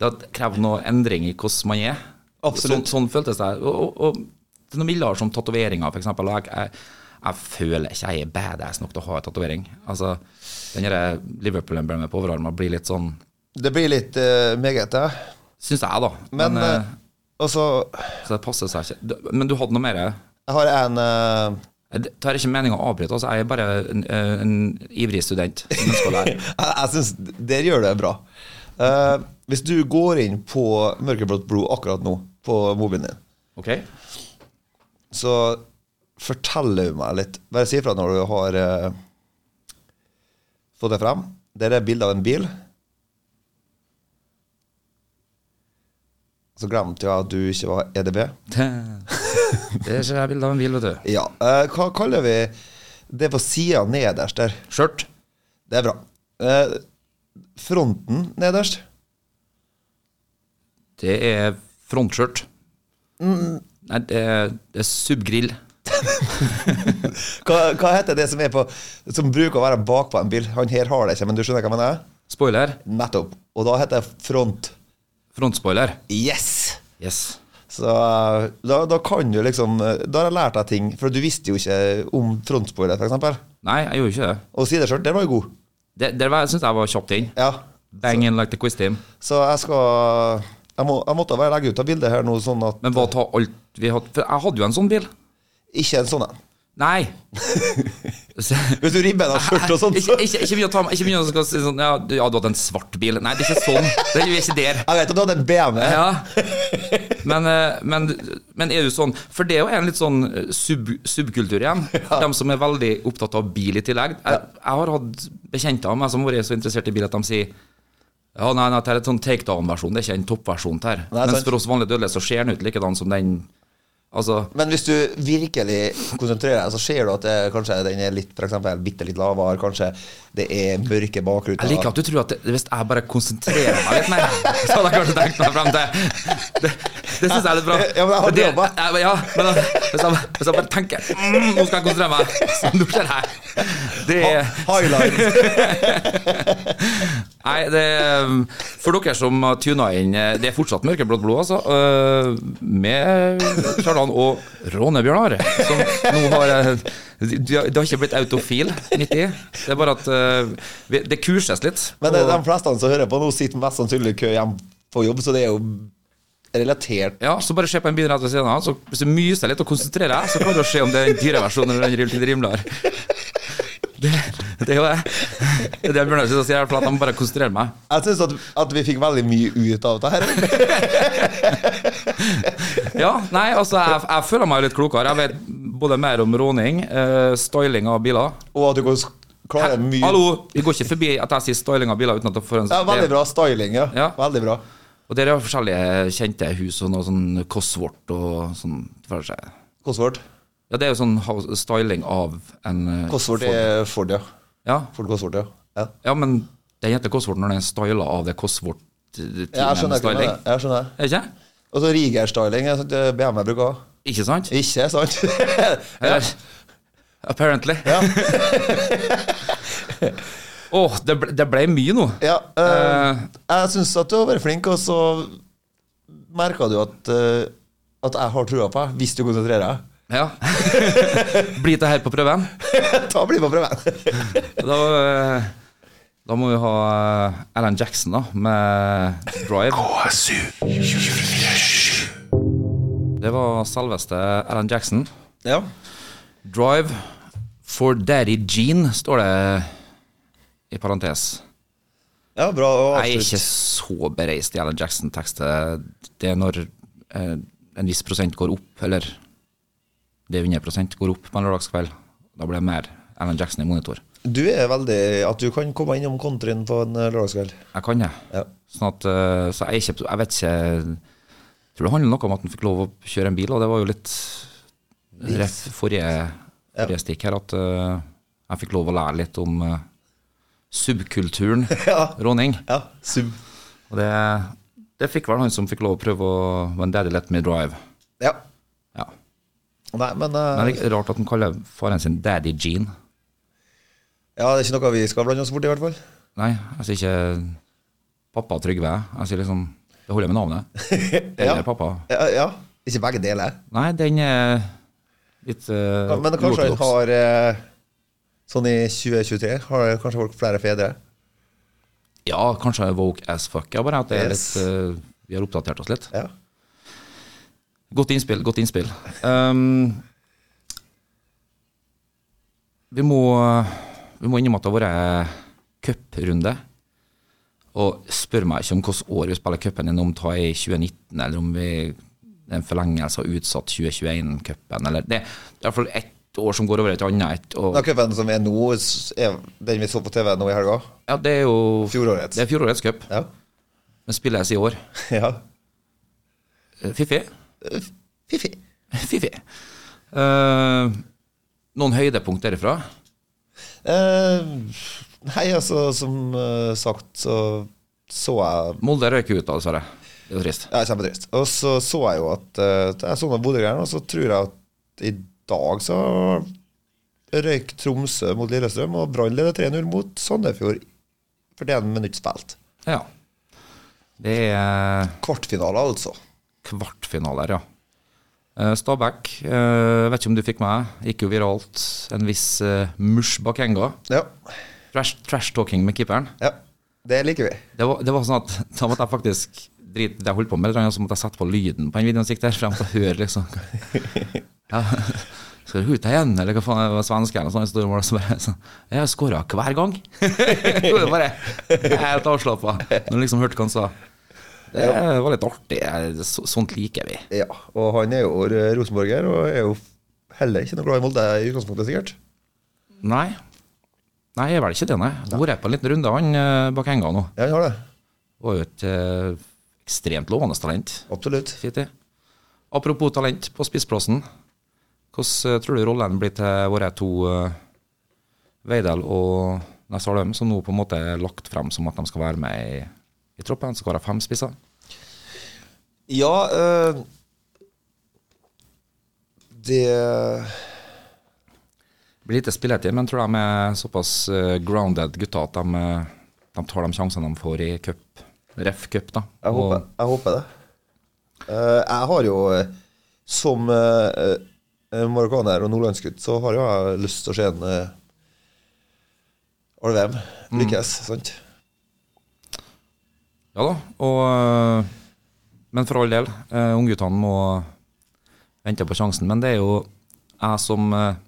[SPEAKER 1] Det krever noe endring i hvordan man er.
[SPEAKER 2] Absolutt.
[SPEAKER 1] Sånn, sånn føltes det. Og, og, og det er noe mildere som tatoveringer, f.eks. Jeg, jeg, jeg føler ikke jeg er badass nok til å ha en tatovering. Altså, den der Liverpool-emblemet på overarmen blir litt sånn
[SPEAKER 2] Det blir litt eh, meget, ja.
[SPEAKER 1] Syns jeg, da.
[SPEAKER 2] Men,
[SPEAKER 1] eh,
[SPEAKER 2] eh, altså
[SPEAKER 1] så det passer seg ikke. Du- Men du hadde noe mer?
[SPEAKER 2] Jeg har en eh, [laughs]
[SPEAKER 1] Det tar ikke meninga å avbryte. Altså, jeg er bare en, en ivrig student som ønsker å
[SPEAKER 2] [laughs]
[SPEAKER 1] lære.
[SPEAKER 2] jeg, jeg synes der gjør det bra. Eh, hvis du går inn på Mørkeblått blod akkurat nå, på mobilen din,
[SPEAKER 1] Ok?
[SPEAKER 2] så forteller hun meg litt Bare si ifra når du har eh, fått det frem. Der er bilde av en bil. Så glemte jeg at du ikke var E EDB.
[SPEAKER 1] Det, det er ikke bilde av en bil, vet du.
[SPEAKER 2] Ja, eh, Hva kaller vi det på sida nederst der?
[SPEAKER 1] Skjørt.
[SPEAKER 2] Det er bra. Eh, fronten nederst.
[SPEAKER 1] Det er frontskjørt.
[SPEAKER 2] Mm.
[SPEAKER 1] Nei, det er, det er subgrill.
[SPEAKER 2] Hva, hva heter det som er på Som bruker å være bakpå en bil? Han her har det ikke, men du skjønner hva jeg mener?
[SPEAKER 1] Spoiler.
[SPEAKER 2] Nettopp. Og da heter det front.
[SPEAKER 1] Frontspoiler.
[SPEAKER 2] Yes!
[SPEAKER 1] Yes.
[SPEAKER 2] Så eh, da, da kan du liksom eh, Da har jeg lært deg ting, for du visste jo ikke om frontspoiler, f.eks.
[SPEAKER 1] Nei, jeg gjorde ikke det.
[SPEAKER 2] Og sideskjørt, den var jo god.
[SPEAKER 1] Det, det var, jeg synes jeg var kjapt inn.
[SPEAKER 2] Ja.
[SPEAKER 1] Bang in like the quiz team.
[SPEAKER 2] Så jeg skal jeg, må, jeg måtte bare legge ut av bildet her nå, sånn at
[SPEAKER 1] Men hva ta alt vi hadde For jeg hadde jo en sånn bil.
[SPEAKER 2] Ikke en sånn en.
[SPEAKER 1] Nei. Så-
[SPEAKER 2] Hvis du ribber deg skjørt og sånn,
[SPEAKER 1] Ikke,
[SPEAKER 2] så
[SPEAKER 1] [laughs] ikke, ikke begynn å ta meg Ikke begynn å skal si sånn ja, du, ja, du hadde en svart bil. Nei, det er ikke sånn. Det er jo ikke der.
[SPEAKER 2] Jeg vet at du hadde en BMW.
[SPEAKER 1] Ja. Men, eh, men, men er du sånn For det er jo en litt sånn eh, sub, subkultur
[SPEAKER 2] [laughs]
[SPEAKER 1] igjen. De som er veldig opptatt av bil i tillegg. Jeg, jeg har hatt bekjente av meg som har vært så interessert i bil at de sier ja, nei, nei, det er et sånn takedown-versjon, det er ikke en toppversjon her.
[SPEAKER 2] Nei,
[SPEAKER 1] Mens
[SPEAKER 2] sant.
[SPEAKER 1] for oss vanlige dødelige så ser den ut likedan som den Altså,
[SPEAKER 2] Men hvis du virkelig konsentrerer deg, så ser du at det, kanskje den er litt, for eksempel, bitte litt lavere. Kanskje det er mørke bakruter.
[SPEAKER 1] jeg liker at du tror at det, hvis jeg bare konsentrerer meg litt mer, [laughs] så hadde jeg kanskje tenkt meg frem til Det, det syns jeg er litt bra.
[SPEAKER 2] Ja, men jeg har
[SPEAKER 1] det,
[SPEAKER 2] jobba.
[SPEAKER 1] jeg, ja, men da- hvis, jeg, hvis jeg bare tenker mm, Nå skal jeg konsentrere meg. Så nå skjer det. Det
[SPEAKER 2] Ha-
[SPEAKER 1] er
[SPEAKER 2] [laughs] Highlights.
[SPEAKER 1] Nei, det er, um, For dere som har tuna inn eh, Det er fortsatt mørkeblått blod, altså. eh, Med Charlan og Råne-Bjørnar. Som nå har eh, de- de har- Det har ikke blitt autofil midt i. Det er bare at eh, vi- det kurses litt.
[SPEAKER 2] Men det,
[SPEAKER 1] og-
[SPEAKER 2] de fleste som hører på nå, sitter mest sannsynlig i kø hjem på jobb, så det er jo relatert.
[SPEAKER 1] Ja, så bare se på en bil rett ved siden av. Så hvis du myser litt og konsentrerer deg, så kan du se om det er den dyre versjonen eller den litt rimeligere. Det, det er jo det. Det er det Bjørnar sier, sier, for at han bare konsentrerer meg.
[SPEAKER 2] Jeg syns at, at vi fikk veldig mye ut av det her.
[SPEAKER 1] Ja, nei, altså, jeg, jeg føler meg litt klokere. Jeg vet både mer om råning, eh, styling av biler.
[SPEAKER 2] Og at du kan s- klare mye
[SPEAKER 1] Hallo, vi går ikke forbi at jeg sier styling av biler uten at jeg får en
[SPEAKER 2] ja, Veldig bra styling, ja.
[SPEAKER 1] Ja.
[SPEAKER 2] Veldig bra.
[SPEAKER 1] Og der er jo forskjellige kjente hus og noe sånn Cosworth og sånn. for å si.
[SPEAKER 2] Cosworth.
[SPEAKER 1] Ja, det er jo sånn house- styling av en eh,
[SPEAKER 2] Cosworth
[SPEAKER 1] Ford.
[SPEAKER 2] er Ford, ja.
[SPEAKER 1] Ja,
[SPEAKER 2] Ford Cosworth, ja. ja.
[SPEAKER 1] Ja, men den heter Cosworth når den er styla av det Cosworth
[SPEAKER 2] Jeg skjønner ikke
[SPEAKER 1] styling.
[SPEAKER 2] med det. Jeg skjønner.
[SPEAKER 1] Er ikke?
[SPEAKER 2] Og så Riger-styling er sånt eh, BMW bruker også.
[SPEAKER 1] Ikke sant?
[SPEAKER 2] Ikke sant? [laughs] ja.
[SPEAKER 1] Eller, Apparently. Åh, [laughs] det, ble, det ble mye nå.
[SPEAKER 2] ja eh,
[SPEAKER 1] Eh,
[SPEAKER 2] jeg syns at du har vært flink, og så merka du at, eh, at jeg har trua på deg, hvis du konsentrerer deg. [laughs]
[SPEAKER 1] ja. [laughs] Blir det her på prøven?
[SPEAKER 2] Ta bli med på prøven.
[SPEAKER 1] Da, eh, da må vi ha eh, Alan Jackson da, med Drive. Det var selveste Alan Jackson.
[SPEAKER 2] [laughs] ja.
[SPEAKER 1] Drive for Daddy Gene, står det i parentes.
[SPEAKER 2] ja, bra. å
[SPEAKER 1] Jeg er
[SPEAKER 2] avslutte.
[SPEAKER 1] ikke så bereist i Alan Jackson-tekstet. Det er når eh, en viss prosent går opp, eller det 100 går opp på en lørdagskveld. Da blir det mer Alan Jackson i monitor.
[SPEAKER 2] Du er veldig At du kan komme innom countryen på en eh, lørdagskveld. [laughs]
[SPEAKER 1] Jeg kan det.
[SPEAKER 2] Ja.
[SPEAKER 1] Sånn at, eh, så jeg, er ikke, jeg vet ikke Jeg tror det handler noe om at han fikk lov å kjøre en bil, og det var jo litt ref forrige, forrige stikk her at eh, jeg fikk lov å lære litt om eh, subkulturen
[SPEAKER 2] [laughs] Ja.
[SPEAKER 1] Ronning.
[SPEAKER 2] ja. Sub.
[SPEAKER 1] Og det, det fikk vel han som fikk lov å prøve å When Daddy Let Me Drive.
[SPEAKER 2] Ja.
[SPEAKER 1] Ja.
[SPEAKER 2] Nei, men, eh,
[SPEAKER 1] Men det er rart at han kaller faren sin Daddy Gene.
[SPEAKER 2] Ja, det er ikke noe vi skal blande oss borti, i hvert fall.
[SPEAKER 1] Nei, jeg sier ikke pappa Trygve. Jeg sier liksom Det holder med navnet.
[SPEAKER 2] Ja.
[SPEAKER 1] Eller pappa.
[SPEAKER 2] Ja, ja. Ikke begge deler.
[SPEAKER 1] Nei, den er litt uh,
[SPEAKER 2] Ja, men kanskje han har eh, Sånn i 2023 har kanskje folk flere fedre.
[SPEAKER 1] Ja, kanskje jeg er woke as fuck. Ja, bare at det er litt,
[SPEAKER 2] Yes.
[SPEAKER 1] eh, vi har oppdatert oss litt.
[SPEAKER 2] Ja.
[SPEAKER 1] Godt innspill, godt innspill. Ehm, vi, må, vi må innrømme at det har vært cuprunde. Og spør meg ikke om hvilket år vi spiller cupen, eller om det er i 2019, eller om vi det er en forlengelse av utsatt 2021-cupen, eller Det er iallfall ett år som går over et annet. Et, og,
[SPEAKER 2] Den cupen som er nå, s- er den vi så på TV nå i helga.
[SPEAKER 1] ja, det er jo
[SPEAKER 2] Fjorårets.
[SPEAKER 1] Det er fjorårets cup,
[SPEAKER 2] Ja. [laughs]
[SPEAKER 1] men spilles i år.
[SPEAKER 2] ja.
[SPEAKER 1] Eh, Fiffig.
[SPEAKER 2] Fiffi.
[SPEAKER 1] Fiffig. Eh, noen høydepunkt derifra?
[SPEAKER 2] Eh, nei, altså, som eh, sagt, så så jeg
[SPEAKER 1] Molde røyker ut, da, dessverre. Det er jo trist.
[SPEAKER 2] Ja, kjempetrist. Og så så jeg jo at eh, Jeg så noen Bodø-greier, og så tror jeg at i dag så røyk Tromsø mot Lillestrøm, og Brann leder 3-0 mot Sandefjord. For det er en minutt spilt.
[SPEAKER 1] Ja. Det er
[SPEAKER 2] Kvartfinale, altså.
[SPEAKER 1] kvartfinaler, ja. Eh, Stabæk, eh, vet ikke om du fikk med, gikk jo viralt. En viss eh, mush bak enga.
[SPEAKER 2] Ja.
[SPEAKER 1] Trash- Trash-talking med keeperen.
[SPEAKER 2] ja. Det liker vi.
[SPEAKER 1] Det var, det var sånn at [laughs] da måtte jeg faktisk drite i det jeg holdt på med, så måtte jeg sette på lyden på den videoen som gikk der, for jeg måtte høre liksom ja. Skal du ut igjen, eller hva faen, det var svenske eller noe sånt, så var det så bare sånn Jeg har skåra hver gang. [laughs] Det var bare helt avslappa når du liksom hørte hva han sa. Det var litt artig. Jeg- så- Sånt liker vi.
[SPEAKER 2] Ja. Og han er jo eh, rosenborger, og er jo heller ikke noe glad i Molde i utgangspunktet, sikkert.
[SPEAKER 1] Nei. Nei, jeg er vel ikke det, nei. Har vært på en liten runde, han eh, bak enga nå.
[SPEAKER 2] Ja, han har det.
[SPEAKER 1] Var jo et eh, ekstremt lovende talent.
[SPEAKER 2] Absolutt.
[SPEAKER 1] Fint det. Apropos talent på spissplassen. Hvordan eh, tror du rollen blir til våre to eh, Veidel og Nessaløm, som nå på en måte er lagt frem som at de skal være med i, i troppen? Skal være fem spisser?
[SPEAKER 2] Ja eh, Det
[SPEAKER 1] Blir lite spilletid, men tror de er såpass eh, grounded gutter at de, eh, de tar de sjansene de får i cup. Ref cup, da.
[SPEAKER 2] Jeg håper, jeg håper det. Eh, jeg har jo, eh, som eh, eh, marokkaner og nordlandsgutt, så har jo jeg lyst til å se en uh, Alvheim lykkes, sant?
[SPEAKER 1] Ja da, og, eh, men for all del, eh, ungguttene må vente på sjansen. Men det er jo jeg som eh,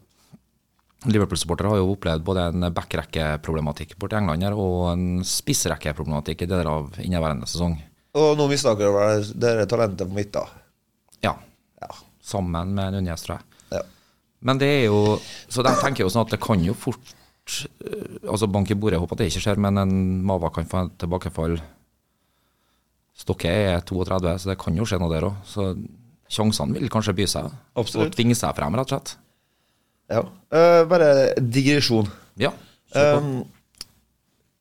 [SPEAKER 1] Liverpool-supporter har jo opplevd både en backrekkeproblematikk borte i England her, og en spissrekkeproblematikk i deler av inneværende sesong.
[SPEAKER 2] Og nå mister dere vel dere talentet på midten.
[SPEAKER 1] Ja,
[SPEAKER 2] Ja.
[SPEAKER 1] sammen med Nunes, tror jeg.
[SPEAKER 2] ja.
[SPEAKER 1] Men det er jo Så der tenker jeg jo sånn at det kan jo fort eh, Altså bank i bordet, jeg håper at det ikke skjer, men en Mava kan få et tilbakefall. Stokke er 32, så det kan jo skje noe der òg. Så sjansene vil kanskje by seg.
[SPEAKER 2] Absolutt.
[SPEAKER 1] Og tvinge seg frem, rett og slett.
[SPEAKER 2] ja. Eh, bare digresjon.
[SPEAKER 1] Ja.
[SPEAKER 2] Um,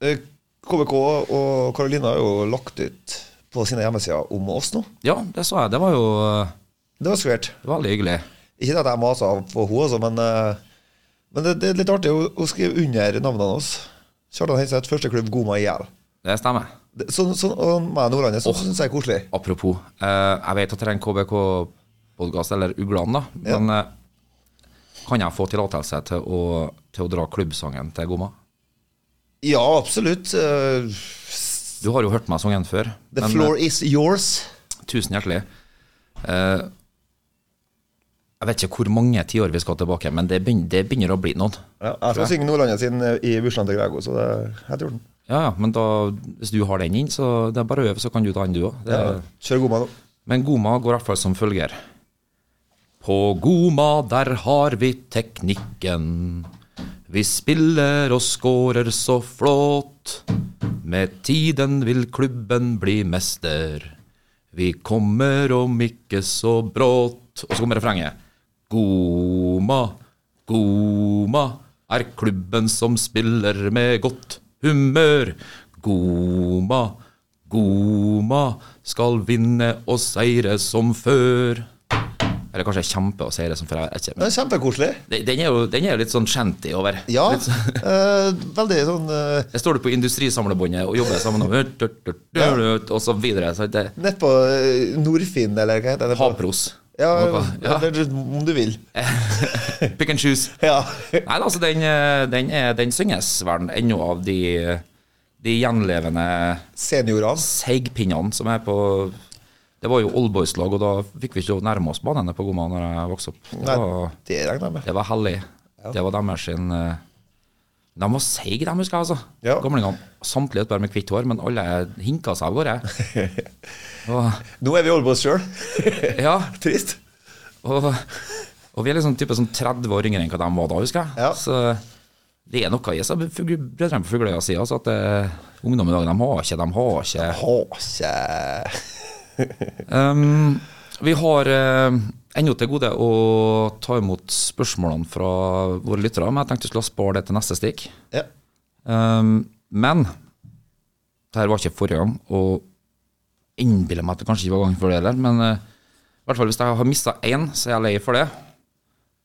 [SPEAKER 2] eh, KBK og Carolina har jo lagt ut på sine hjemmesider om oss nå.
[SPEAKER 1] Ja, det sa jeg. Det var jo eh,
[SPEAKER 2] Det var skvært.
[SPEAKER 1] veldig hyggelig.
[SPEAKER 2] Ikke at jeg maser på henne, altså, men, eh, men det, det er litt artig å, å skrive under navnene oss. Kjartan Henseth, første klubb Goma IL.
[SPEAKER 1] Det stemmer.
[SPEAKER 2] Det- Sånn, sånn, og meg og Nordlandet, sånn synes syns jeg er koselig.
[SPEAKER 1] Apropos, eh, jeg vet at det er en KBK-podkast, eller Uglan, da.
[SPEAKER 2] Ja.
[SPEAKER 1] Men eh, kan jeg få tillatelse til å, til å dra klubbsangen til Goma?
[SPEAKER 2] Ja, absolutt. eh,
[SPEAKER 1] Du har jo hørt meg sangen før.
[SPEAKER 2] The
[SPEAKER 1] men, eh,
[SPEAKER 2] floor is yours.
[SPEAKER 1] Tusen hjertelig. Eh, jeg vet ikke hvor mange tiår vi skal tilbake, men det begynner, det begynner å bli noen.
[SPEAKER 2] Ja, jeg skal synge Nordlandet sin eh, i bursdagen til Grego, så det, jeg tror den.
[SPEAKER 1] Ja, ja, men da, hvis du har den inn, så det er bare å øve, så kan du ta den du òg.
[SPEAKER 2] Ja. Kjør Goma nå.
[SPEAKER 1] Men Goma går i hvert fall som følger. På Goma der har vi teknikken. Vi spiller og scorer så flott. Med tiden vil klubben bli mester. Vi kommer om ikke så brått. Og så kommer refrenget. Goma, Goma er klubben som spiller med godt humør. Goma, Goma skal vinne og seire som før. Eller kanskje kjempe og seire som før. Jeg vet ikke.
[SPEAKER 2] Det er kjempekoselig.
[SPEAKER 1] Men den er jo den er jo litt sånn shanty over.
[SPEAKER 2] Ja.
[SPEAKER 1] Litt sånn-
[SPEAKER 2] eh, veldig sånn eh,
[SPEAKER 1] Jeg står du på industrisamlebåndet og jobber sammen med
[SPEAKER 2] [laughs]
[SPEAKER 1] Og så videre. Så det
[SPEAKER 2] Nedpå eh, Nordfinn, eller hva heter det?
[SPEAKER 1] Havbros.
[SPEAKER 2] Ja,
[SPEAKER 1] Noe.
[SPEAKER 2] ja.
[SPEAKER 1] Ja.
[SPEAKER 2] Eller, om du vil.
[SPEAKER 1] Pick and choose.
[SPEAKER 2] Ja.
[SPEAKER 1] Nei, altså, den, eh, den, er, den synges vel ennå av de, de gjenlevende
[SPEAKER 2] Seniorene.
[SPEAKER 1] seigpinnene som er på Det var jo oldboys-lag, og da fikk vi ikke nærme oss banene på Goma når jeg vokste opp. Det
[SPEAKER 2] Nei,
[SPEAKER 1] var,
[SPEAKER 2] det regner jeg med.
[SPEAKER 1] det var hellig. Det var deres sin eh, De var seige, de, husker jeg, altså.
[SPEAKER 2] Ja.
[SPEAKER 1] Gamlingene. Samtlige bare med hvitt hår, men alle hinka seg av
[SPEAKER 2] [laughs]
[SPEAKER 1] gårde. Og-
[SPEAKER 2] Nå er vi Olbos sjøl.
[SPEAKER 1] Ja,
[SPEAKER 2] [laughs] Trist.
[SPEAKER 1] Og, og vi er liksom type sånn 30 år yngre enn hva de var da, husker jeg.
[SPEAKER 2] Ja.
[SPEAKER 1] Så det er noe i seg fugl- brødrene på Fugløya sier, altså, at eh, ungdom i dag, de har ikke, de har ikke.
[SPEAKER 2] Hase.
[SPEAKER 1] Um, vi har eh, ennå til gode å ta imot spørsmålene fra våre lyttere, men jeg tenkte vi skulle spare det til neste stikk.
[SPEAKER 2] Ja.
[SPEAKER 1] Um, men det her var ikke forrige gang, og innbiller meg at det kanskje ikke var gangen før det heller. Men eh, i hvert fall hvis jeg har mista én, så er jeg lei for det.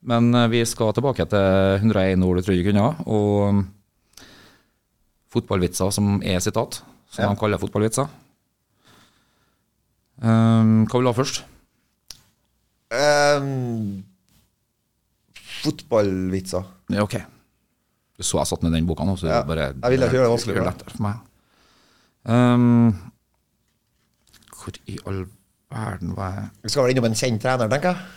[SPEAKER 1] Men eh, vi skal tilbake til 101 ord du trodde du kunne, ha, og um, fotballvitser som er sitat, som
[SPEAKER 2] Ja.
[SPEAKER 1] de kaller fotballvitser. Um, hva vil du ha først?
[SPEAKER 2] Ehm, fotballvitser.
[SPEAKER 1] Ja, ok. Du så jeg satt ned den boka nå, så
[SPEAKER 2] Ja,
[SPEAKER 1] det bare
[SPEAKER 2] jeg ville ikke gjøre det vanskelig for
[SPEAKER 1] gjør
[SPEAKER 2] deg.
[SPEAKER 1] lettere for meg. Ehm, hvor i all verden var jeg
[SPEAKER 2] Vi skal vel innom en kjent trener, tenker jeg.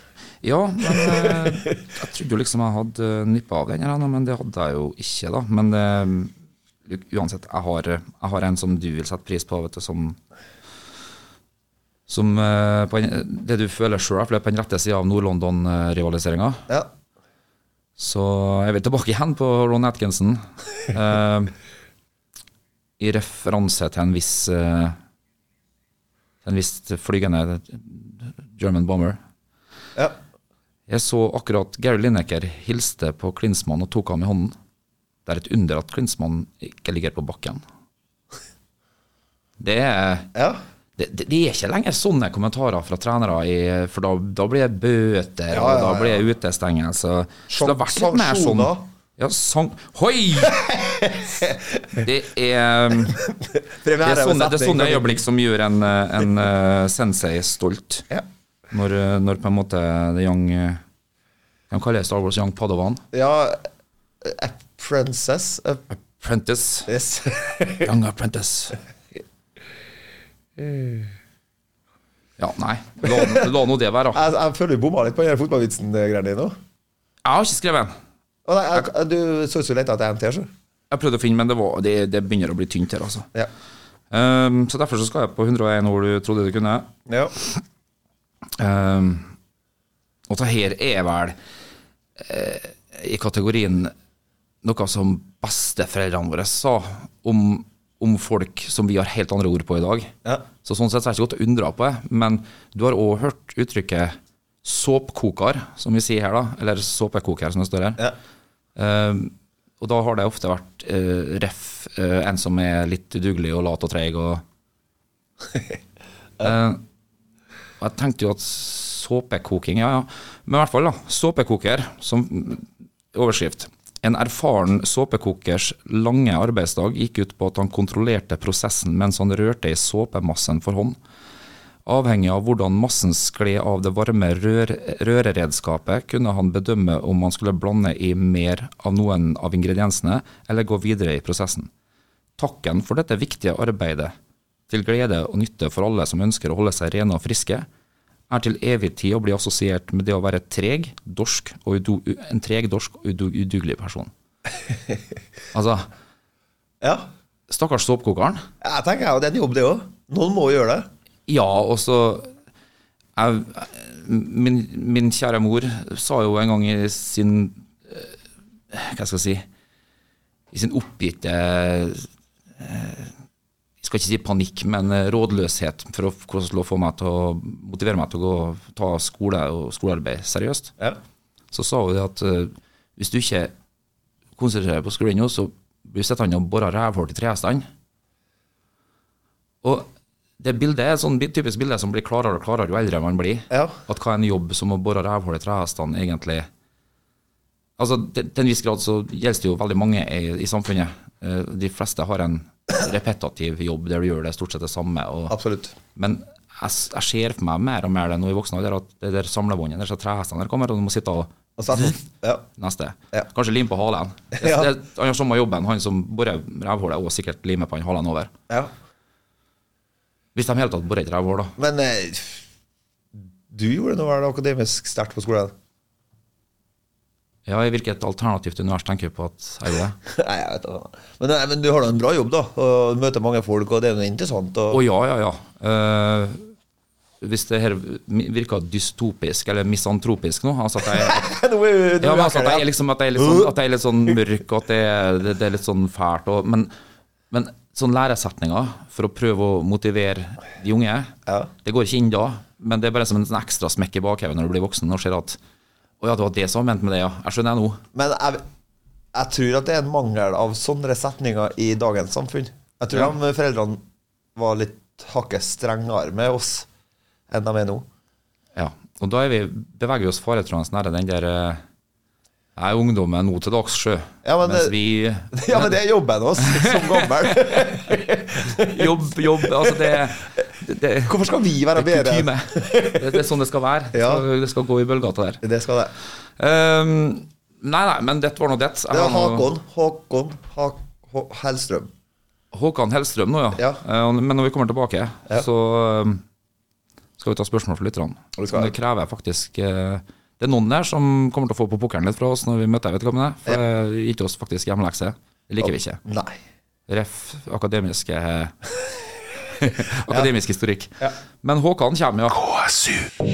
[SPEAKER 1] Ja, men eh, jeg trodde jo liksom jeg hadde nippa av den, her, da, men det hadde jeg jo ikke, da. Men eh, u- uansett, jeg har, jeg har en som du vil sette pris på, vet du, som som eh, på en, Det du føler sjøl, for det er på den rette sida av eh, Nord-London-rivaliseringa.
[SPEAKER 2] Ja.
[SPEAKER 1] Så er vi tilbake igjen på Ron Atkinson. Eh, I referanse til en viss eh, En viss flygende German bomber.
[SPEAKER 2] ja.
[SPEAKER 1] Jeg så akkurat Gary Lineker hilste på Klinsmann og tok ham i hånden. Det er et under at Klinsmann ikke ligger på bakken. [laughs] Det er
[SPEAKER 2] ja.
[SPEAKER 1] det, det, det er ikke lenger sånne kommentarer fra trenere, i, for da, da blir det bøter,
[SPEAKER 2] Ja,
[SPEAKER 1] og
[SPEAKER 2] ja,
[SPEAKER 1] da
[SPEAKER 2] ja.
[SPEAKER 1] blir det utestengelse. Så det har vært litt mer sånn
[SPEAKER 2] Sanksjoner.
[SPEAKER 1] ja, sank... Hoi! Det er,
[SPEAKER 2] [laughs]
[SPEAKER 1] det er, sånne, det er sånn sånne øyeblikk som gjør en, eh,
[SPEAKER 2] [laughs]
[SPEAKER 1] en eh, sensei stolt.
[SPEAKER 2] Ja.
[SPEAKER 1] Når, eh, når på en måte the young eh, De kaller det Star Wars Young Padawan.
[SPEAKER 2] Ja. A princess. A
[SPEAKER 1] Apprentice.
[SPEAKER 2] [laughs] yes.
[SPEAKER 1] Young
[SPEAKER 2] [laughs]
[SPEAKER 1] Apprentice. Ja, nei. La, la nå det være. da.
[SPEAKER 2] jeg, jeg føler vi bomma litt på den her fotballvitsen-greia di nå.
[SPEAKER 1] Jeg har ikke skrevet en.
[SPEAKER 2] Å, nei, jeg, jeg, du så ut som du lette etter en til, så.
[SPEAKER 1] Jeg prøvde å finne, men det, var, det, det begynner å bli tynt her, altså.
[SPEAKER 2] Ja.
[SPEAKER 1] Ehm, så derfor så skal jeg på 101 ord du trodde du kunne.
[SPEAKER 2] ja.
[SPEAKER 1] Ehm, og det her er vel eh, i kategorien noe som besteforeldrene våre sa om, om folk som vi har helt andre ord på i dag.
[SPEAKER 2] Ja.
[SPEAKER 1] Så sånn sett så er det ikke godt å undre på det, men du har òg hørt uttrykket såpkoker, som vi sier her, da. Eller såpekoker, som det står her.
[SPEAKER 2] Ja.
[SPEAKER 1] Eh, Og da har det ofte vært eh, ref, eh, en som er litt udugelig og lat og treig og Eh, og Jeg tenkte jo at såpekoking, ja ja. Men i hvert fall, da. Såpekoker som overskrift. En erfaren såpekokers lange arbeidsdag gikk ut på at han kontrollerte prosessen mens han rørte i såpemassen for hånd. Avhengig av hvordan massen skled av det varme rør røreredskapet, kunne han bedømme om han skulle blande i mer av noen av ingrediensene, eller gå videre i prosessen. Takken for dette viktige arbeidet, til glede og nytte for alle som ønsker å holde seg rene og friske, er til evig tid å bli assosiert med det å være treg, dorsk og udu en treg, dorsk og udu udugelig person. Altså,
[SPEAKER 2] Ja.
[SPEAKER 1] stakkars såpekokeren.
[SPEAKER 2] Jeg tenker jeg, og det er en jobb, det òg. Noen må jo gjøre det.
[SPEAKER 1] Ja, og så jeg, min, min kjære mor sa jo en gang i sin eh, Hva skal jeg si I sin oppgitte eh, Jeg skal ikke si panikk, men eh, rådløshet for å, for å få meg til å motivere meg til å gå, ta skole og skolearbeid seriøst
[SPEAKER 2] Ja.
[SPEAKER 1] så sa hun det at eh, hvis du ikke konsentrerer deg på skruinga, så blir du sittende og bore rævhull til trehestene. Og det bildet er et sånn bi- typisk bilde som blir klarere og klarere jo eldre man blir.
[SPEAKER 2] Ja.
[SPEAKER 1] At hva er en jobb som å bore rævhull i trehestene egentlig Altså, til, til en viss grad så gjelder det jo veldig mange i, i samfunnet. Eh, De fleste har en repetativ jobb der du gjør det stort sett det samme. Og,
[SPEAKER 2] Absolutt.
[SPEAKER 1] men jeg, s- jeg ser for meg mer og mer det nå i voksen alder, at det der samlebåndet, disse trehestene der kommer, og du må sitte og
[SPEAKER 2] Og så er det sånn- ja.
[SPEAKER 1] neste.
[SPEAKER 2] Ja.
[SPEAKER 1] Kanskje lim på
[SPEAKER 2] [laughs]
[SPEAKER 1] halen. Det,
[SPEAKER 2] Ja.
[SPEAKER 1] det, han gjør samme jobben, han som borer rævhullet, og sikkert limer på han halen over.
[SPEAKER 2] ja.
[SPEAKER 1] Hvis de i hele tatt borer et rævhull, da.
[SPEAKER 2] Men eh, du gjorde noe vel akademisk sterkt på skolen?
[SPEAKER 1] Ja, I hvilket alternativt univers tenker vi på at jeg gjorde det?
[SPEAKER 2] [laughs] Nei, jeg vet ikke. Men, nei, men du har da en bra jobb, da. Og møter mange folk, og det er jo interessant.
[SPEAKER 1] Å
[SPEAKER 2] Og,
[SPEAKER 1] ja, ja, ja. Eh, hvis det her virker dystopisk eller misantropisk nå altså at jeg,
[SPEAKER 2] [laughs] nå er jo- nå
[SPEAKER 1] ja,
[SPEAKER 2] er
[SPEAKER 1] men altså at
[SPEAKER 2] jeg-
[SPEAKER 1] jeg, er liksom, at jeg, er litt sånn, at jeg er litt
[SPEAKER 2] [laughs]
[SPEAKER 1] sånn mørk, og at det, er- det, det er litt sånn fælt. Og, men, men sånn læresetninger for å prøve å motivere de unge,
[SPEAKER 2] Ja.
[SPEAKER 1] det går ikke inn da. Men det er bare som en sånn ekstra smekk i bakhodet når du blir voksen og ser at å ja, det var det som var ment med det, ja. Jeg skjønner det nå.
[SPEAKER 2] Men jeg, jeg tror at det er en mangel av sånne setninger i dagens samfunn. Jeg tror de foreldrene var litt hakket strengere med oss enn de er [laughs] nå.
[SPEAKER 1] Ja. Og da er vi, beveger vi oss faretrådens nære den der eh, Jeg er ungdommen nå til dags, sjø.
[SPEAKER 2] Ja, men
[SPEAKER 1] Mens
[SPEAKER 2] det-
[SPEAKER 1] vi
[SPEAKER 2] Ja, men det er jobben vår som gammel.
[SPEAKER 1] Jobb, jobb. Altså,
[SPEAKER 2] [laughs]
[SPEAKER 1] det, det, det
[SPEAKER 2] Hvorfor skal vi være
[SPEAKER 1] det er
[SPEAKER 2] bedre?
[SPEAKER 1] kutyme. Det, det er sånn det skal være. Det
[SPEAKER 2] Ja.
[SPEAKER 1] skal, det skal gå i bølgata der.
[SPEAKER 2] Det skal det.
[SPEAKER 1] Ehm, nei, nei, men dette var nå det. Jeg
[SPEAKER 2] Det er
[SPEAKER 1] har nå-
[SPEAKER 2] Håkon. Håkon ha, Hå- Hellstrøm.
[SPEAKER 1] Håkan Hellstrøm nå, ja.
[SPEAKER 2] Ja.
[SPEAKER 1] Eh, men når vi kommer tilbake, så ehm, skal vi ta spørsmål fra lytterne.
[SPEAKER 2] Og det skal
[SPEAKER 1] Som
[SPEAKER 2] jeg.
[SPEAKER 1] Det krever faktisk eh, Det er noen der som kommer til å få på pokeren litt fra oss når vi møter vedkommende. For det gitt oss faktisk hjemmelekse. Det liker vi ikke.
[SPEAKER 2] Nei.
[SPEAKER 1] Ref. akademiske [laughs] Akademisk historikk.
[SPEAKER 2] Ja.
[SPEAKER 1] Men Håkan kommer, ja.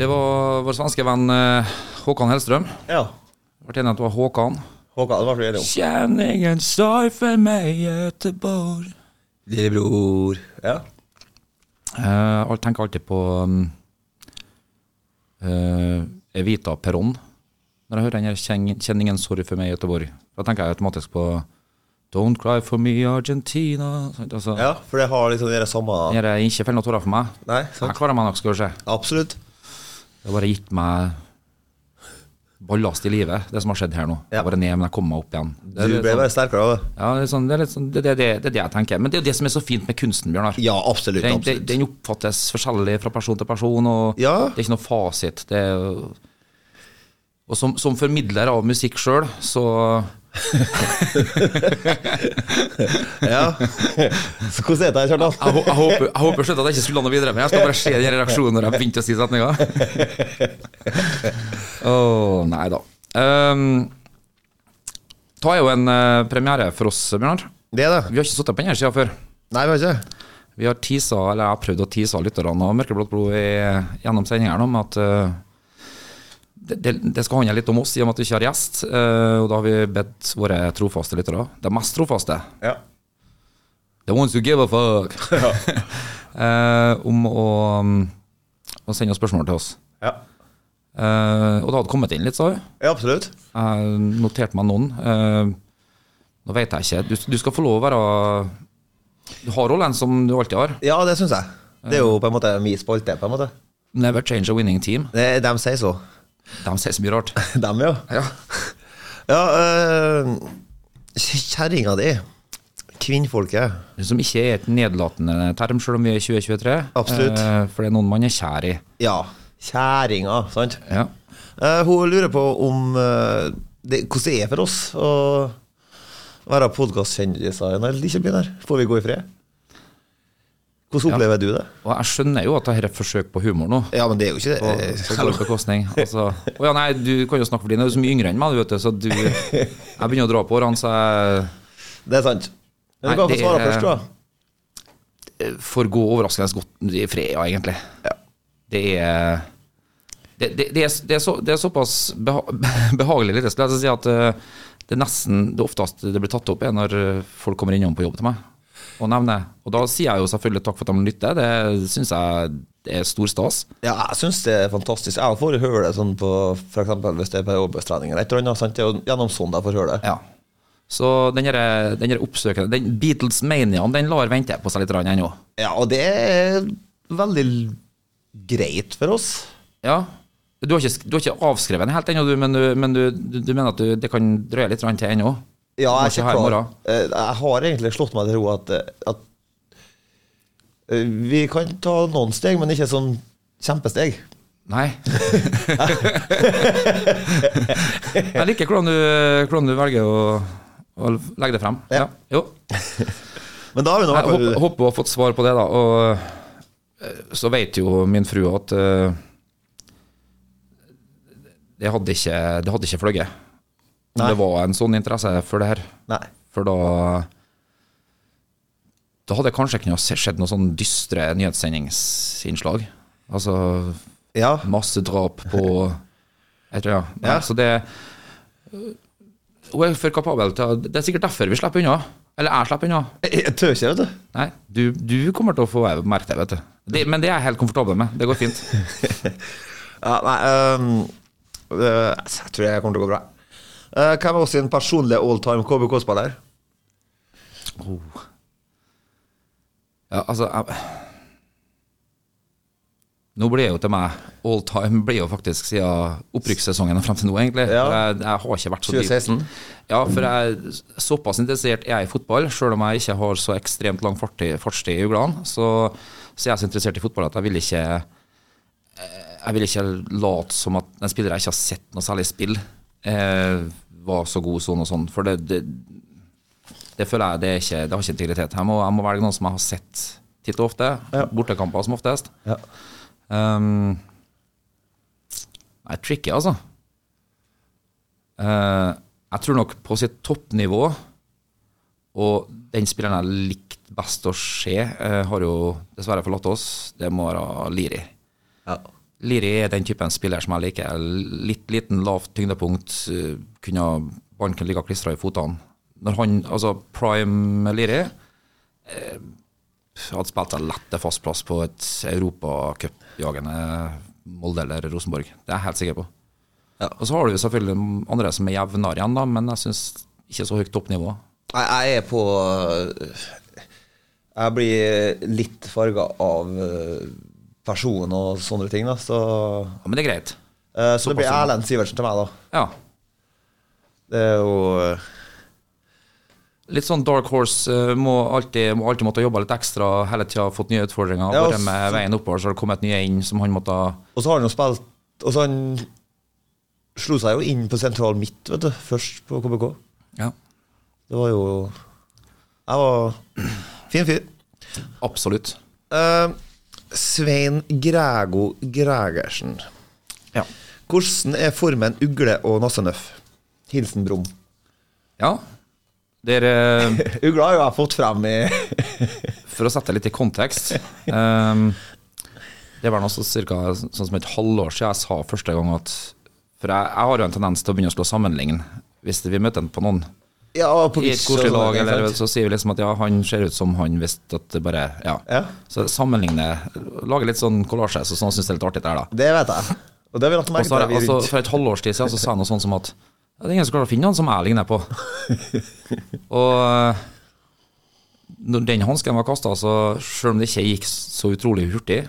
[SPEAKER 1] Det var vår svenske venn eh, Håkan Hellstrøm.
[SPEAKER 2] Ja.
[SPEAKER 1] Ble enig at det var Håkan.
[SPEAKER 2] Håkan, det var flere om.
[SPEAKER 1] Kjenningen står for meg, Göteborg.
[SPEAKER 2] Lillebror. Ja.
[SPEAKER 1] Eh, Jeg tenker alltid på um, eh, Evita Perón. Når jeg hører den her kjen- kjenningen 'Sorry for meg, Göteborg', da tenker jeg automatisk på 'Don't cry for me, Argentina'. sant? Altså,
[SPEAKER 2] ja, for det har liksom det samme
[SPEAKER 1] den her, Ikke fell noen tårer for meg.
[SPEAKER 2] Nei,
[SPEAKER 1] Jeg
[SPEAKER 2] sant.
[SPEAKER 1] klarer meg nok, skal du se.
[SPEAKER 2] Absolutt.
[SPEAKER 1] Det har bare gitt meg ballast i livet, det som har skjedd her nå.
[SPEAKER 2] Ja.
[SPEAKER 1] Jeg bare ned, men jeg kom meg opp igjen. Det
[SPEAKER 2] Du
[SPEAKER 1] er
[SPEAKER 2] ble
[SPEAKER 1] litt sånn-
[SPEAKER 2] bare sterkere av det.
[SPEAKER 1] Ja, det er, sånn, det, er litt sånn, det, det, det, det er det jeg tenker. Men det er jo det som er så fint med kunsten, Bjørnar.
[SPEAKER 2] Ja, absolutt.
[SPEAKER 1] Den, den,
[SPEAKER 2] absolutt.
[SPEAKER 1] den oppfattes forskjellig fra person til person, og
[SPEAKER 2] Ja.
[SPEAKER 1] det er ikke noe fasit. Det er, jo- og som, som formidler av musikk sjøl, så [laughs]
[SPEAKER 2] Ja. Så hvordan er det her, Kjartan?
[SPEAKER 1] Jeg, hå- jeg håper, jeg håper slutt at jeg ikke skulle la noe videre, men jeg skal bare se den reaksjonen når jeg begynte å si
[SPEAKER 2] [laughs]
[SPEAKER 1] setninga. Å, nei da. Ehm, ta er jo en eh, premiere for oss, Bjørnar.
[SPEAKER 2] Det er det.
[SPEAKER 1] Vi har ikke sittet på denne sida før.
[SPEAKER 2] Nei, vi har ikke.
[SPEAKER 1] Vi har teasa, eller jeg har prøvd å tease lytterne av Mørkeblått blod i, gjennom sendingene om at eh, det, det, det skal handle litt om oss, i og med at vi ikke har gjest. eh, og da har vi bedt våre trofaste lyttere, de mest trofaste,
[SPEAKER 2] Ja.
[SPEAKER 1] the ones who give a fuck, [laughs] eh, om å, mm, å sende oss spørsmål til oss.
[SPEAKER 2] ja.
[SPEAKER 1] Eh, og det hadde kommet inn litt, sa hun.
[SPEAKER 2] Ja, absolutt.
[SPEAKER 1] Jeg noterte meg noen. Eh, nå vet jeg ikke. Du, du skal få lov å være Du har rollen som du alltid har.
[SPEAKER 2] Ja, det syns jeg. Det er jo på en måte min spalte. på en måte.
[SPEAKER 1] Never change a winning team.
[SPEAKER 2] De, de sier så.
[SPEAKER 1] De sier så mye rart.
[SPEAKER 2] Dem, ja.
[SPEAKER 1] Ja.
[SPEAKER 2] [laughs] Ja, øh, kjerringa di. Kvinnfolket.
[SPEAKER 1] Som ikke er et nedlatende term, selv om vi er i 2023.
[SPEAKER 2] Absolutt.
[SPEAKER 1] Eh, for det er noen man er kjær i.
[SPEAKER 2] Ja. Kjerringa, sant?
[SPEAKER 1] Ja.
[SPEAKER 2] Eh, hun lurer på om eh, det, hvordan det er for oss å være podkastkjendiser eller ikke bli der. Får vi gå i fred? Hvordan opplever du det?
[SPEAKER 1] Og jeg skjønner jo at dette er et forsøk på humor nå.
[SPEAKER 2] Ja, men det er jo ikke
[SPEAKER 1] På,
[SPEAKER 2] det. Eh,
[SPEAKER 1] på vår bekostning. Altså, å ja, nei, du kan jo snakke for dine. Du er så mye yngre enn meg, du vet du. Så
[SPEAKER 2] [laughs]
[SPEAKER 1] du Jeg begynner å dra på årene, så jeg
[SPEAKER 2] Det er sant. Men
[SPEAKER 1] Nei,
[SPEAKER 2] du kan få
[SPEAKER 1] det
[SPEAKER 2] svare
[SPEAKER 1] er-
[SPEAKER 2] først, da.
[SPEAKER 1] får gå overraskende godt i fred, ja, egentlig. Det er det, det, det, er, det, er så, det er såpass beha [laughs] behagelig lyrisk, la oss si at eh, det er nesten det ofteste det blir tatt opp, er når eh, folk kommer innom på jobb til meg og nevner. Og da sier jeg jo selvfølgelig takk for at de lytter, det syns jeg det er stor stas.
[SPEAKER 2] Ja, jeg syns det er fantastisk. Jeg får høre det sånn på f.eks. hvis det er på overbevissttrening eller et eller annet. sant? Det er jo gjennom sånn jeg får høre det.
[SPEAKER 1] Ja. Så den her- den her oppsøkende den Beatles-maniaen den lar vente på seg litt grann ennå.
[SPEAKER 2] Ja, og det er veldig greit for oss.
[SPEAKER 1] Ja. Du har, ikke, sk- du har ikke avskrevet den helt ennå, du, men, du, men du, du, du mener at du, det kan drøye litt grann til ennå?
[SPEAKER 2] Ja,
[SPEAKER 1] Du må
[SPEAKER 2] jeg er
[SPEAKER 1] ikke ha i
[SPEAKER 2] ikke klar.
[SPEAKER 1] morgen.
[SPEAKER 2] Eh, Jeg har egentlig slått meg til ro at, eh, at eh, vi kan ta noen steg, men ikke sånn kjempesteg.
[SPEAKER 1] Nei. [laughs] Jeg liker hvordan du, hvordan du velger å, å legge det frem.
[SPEAKER 2] Ja.
[SPEAKER 1] Ja. Jo.
[SPEAKER 2] Men da har vi nå
[SPEAKER 1] Jeg håper,
[SPEAKER 2] i hvert fall
[SPEAKER 1] håper hun har fått svar på det, da. Og eh, så vet jo min frue at eh, det hadde ikke, det hadde ikke fløyet. Om
[SPEAKER 2] Nei.
[SPEAKER 1] det var en sånn interesse for det her.
[SPEAKER 2] Nei.
[SPEAKER 1] For da Da hadde det kanskje ikke noe- skjedd noen sånn dystre nyhetssendingsinnslag. Altså
[SPEAKER 2] Ja.
[SPEAKER 1] Masse drap på [laughs] Jeg tror, ja. Nei,
[SPEAKER 2] Ja.
[SPEAKER 1] Så det Hun er for kapabel til å Det er sikkert derfor vi slipper unna. Eller jeg slipper unna.
[SPEAKER 2] Jeg tør ikke, vet du.
[SPEAKER 1] Nei, du, du kommer til å få merke det, vet du. Det, men det er jeg helt komfortabel med. Det går fint.
[SPEAKER 2] Ja, nei, ehm, eh, jeg tror jeg kommer til å gå bra. Eh, hvem er også din personlige all-time KBK-spiller?
[SPEAKER 1] Ja, altså jeg, Nå blir det jo til meg All time blir jo faktisk siden opprykkssesongen og frem til nå, egentlig.
[SPEAKER 2] Ja.
[SPEAKER 1] For Jeg, jeg har ikke vært så
[SPEAKER 2] 2016.
[SPEAKER 1] dypt. Ja, for jeg såpass interessert er jeg i fotball, selv om jeg ikke har så ekstremt lang farti- fartstid i uglene, så, så er jeg så interessert i fotball at jeg vil ikke eh, jeg vil ikke late som at en spiller jeg ikke har sett noe særlig spill, eh, var så god sånn og sånn. For det, det, det føler jeg det, er ikke, det har ikke integritet. Jeg må, jeg må velge noen som jeg har sett titt og ofte. Bortekamper som oftest.
[SPEAKER 2] Ja.
[SPEAKER 1] Um, nei, tricky, altså. Eh, jeg tror nok på sitt toppnivå, og den spilleren jeg likte best å se, eh, har jo dessverre forlatt oss. Det må være Liri.
[SPEAKER 2] Ja.
[SPEAKER 1] Liri er den typen spiller som jeg liker. Litt liten, lavt tyngdepunkt. eh, Kunne ha Ballen kunne ligge klistra i fotene. Når han, altså prime Liri eh, hadde spilt seg lett til fast plass på et europacupjagende Molde eller Rosenborg. Det er jeg helt sikker på.
[SPEAKER 2] Ja.
[SPEAKER 1] Og så har du jo selvfølgelig andre som er jevnere igjen, da, men jeg syns ikke så høyt toppnivå.
[SPEAKER 2] Jeg, jeg er på eh, Jeg blir litt farga av eh, person og sånne ting, da. Så,
[SPEAKER 1] Ja, men det er greit.
[SPEAKER 2] eh, så det blir
[SPEAKER 1] Såpass.
[SPEAKER 2] Erlend Sivertsen til meg, da.
[SPEAKER 1] Ja.
[SPEAKER 2] Det er jo eh,
[SPEAKER 1] Litt sånn dark horse eh, må alltid, må alltid måtte jobbe litt ekstra, hele tida fått nye utfordringer.
[SPEAKER 2] Ja, og
[SPEAKER 1] vært med
[SPEAKER 2] så-
[SPEAKER 1] veien oppover, så har det kommet nye inn som han måtte ha
[SPEAKER 2] Og så har han jo spilt Og så han slo seg jo inn på sentral midt, vet du. Først på KBK.
[SPEAKER 1] ja.
[SPEAKER 2] Det var jo Jeg var fin fyr.
[SPEAKER 1] Absolutt.
[SPEAKER 2] Eh, Svein Grego Gregersen.
[SPEAKER 1] Ja.
[SPEAKER 2] Hvordan er formen ugle og nassenøff? Hilsen Brum.
[SPEAKER 1] ja. Dere, eh,
[SPEAKER 2] Ugla har jo jeg fått frem i
[SPEAKER 1] for å sette det litt i kontekst ehm, Det var noe cirka, sånn som et halvår siden jeg sa første gang at For jeg, jeg har jo en tendens til å begynne å slå sammenligning hvis vi møter en på noen.
[SPEAKER 2] Ja, på
[SPEAKER 1] I et
[SPEAKER 2] Vitsø
[SPEAKER 1] koselig
[SPEAKER 2] og sånne
[SPEAKER 1] lag,
[SPEAKER 2] ting,
[SPEAKER 1] eller
[SPEAKER 2] sant?
[SPEAKER 1] så sier vi liksom at ja, han ser ut som han hvis at det bare Ja.
[SPEAKER 2] Ja.
[SPEAKER 1] Så sammenligne Lage litt sånn kollasje, så sånn syns jeg er litt artig det er, da.
[SPEAKER 2] Det vet jeg. Og det har vi lagt
[SPEAKER 1] Og
[SPEAKER 2] merke
[SPEAKER 1] så
[SPEAKER 2] til.
[SPEAKER 1] har
[SPEAKER 2] vi
[SPEAKER 1] jeg, altså,
[SPEAKER 2] rundt.
[SPEAKER 1] for et halvårs tid siden så sa han noe sånt som at «Ja, det er ingen som klarer å finne han som jeg
[SPEAKER 2] [laughs]
[SPEAKER 1] ligner på. Og eh, når den hansken var kasta, så selv om det ikke gikk så utrolig hurtig,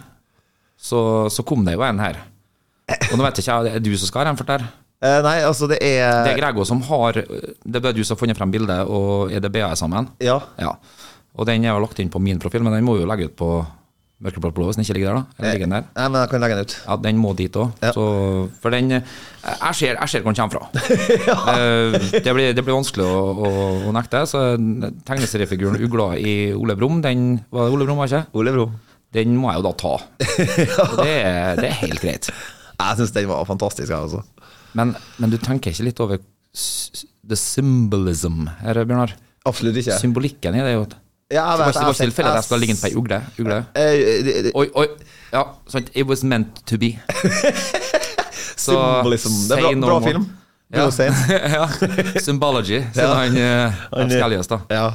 [SPEAKER 1] så, så kom det jo en her. Og nå vet jeg ikke, er det du som skal ha den for der?
[SPEAKER 2] Eh, nei, altså, det er,
[SPEAKER 1] Det er Grego som har Det er bare du som har funnet frem bildet, og EDB-er sammen.
[SPEAKER 2] Ja.
[SPEAKER 1] Ja. Og den er jo lagt inn på min profil, men den må jo legge ut på Mørkeblått blå hvis den ikke ligger der, da. Eller ligger den der.
[SPEAKER 2] Nei, men jeg kan legge den ut.
[SPEAKER 1] Ja, den må dit òg.
[SPEAKER 2] Ja.
[SPEAKER 1] For den eh, Jeg ser, jeg ser hvor den kommer fra.
[SPEAKER 2] [laughs]
[SPEAKER 1] Eh, det, blir, det blir vanskelig å, å, å nekte. Så eh, tegneseriefiguren Ugla i Ole Brumm, den var det Ole Brumm, var det ikke?
[SPEAKER 2] Ole Bro.
[SPEAKER 1] Den må jeg jo da
[SPEAKER 2] [laughs]
[SPEAKER 1] ta. Og det, er- det er helt greit.
[SPEAKER 2] Jeg syns den var fantastisk, jeg, altså.
[SPEAKER 1] Men, men du tenker ikke litt over s- s- the symbolism her, Bjørnar?
[SPEAKER 2] Absolutt ikke.
[SPEAKER 1] Symbolikken i det er jo at
[SPEAKER 2] Ja, jeg
[SPEAKER 1] Det var
[SPEAKER 2] vet,
[SPEAKER 1] ikke
[SPEAKER 2] jeg
[SPEAKER 1] vårt tilfelle at jeg skulle ha ligget på ei
[SPEAKER 2] jeg-
[SPEAKER 1] ugle. ugle.
[SPEAKER 2] Eh, det- det-
[SPEAKER 1] Oi, oi. Ja, sant. It was meant to
[SPEAKER 2] [laughs]
[SPEAKER 1] be. Så,
[SPEAKER 2] Symbolism. Det
[SPEAKER 1] say
[SPEAKER 2] er bra,
[SPEAKER 1] no
[SPEAKER 2] bra
[SPEAKER 1] more.
[SPEAKER 2] film.
[SPEAKER 1] Ja.
[SPEAKER 2] Bruce Wayne.
[SPEAKER 1] [laughs] ja. Symbology, sier han, eh, han Skeljes, da.
[SPEAKER 2] Ja.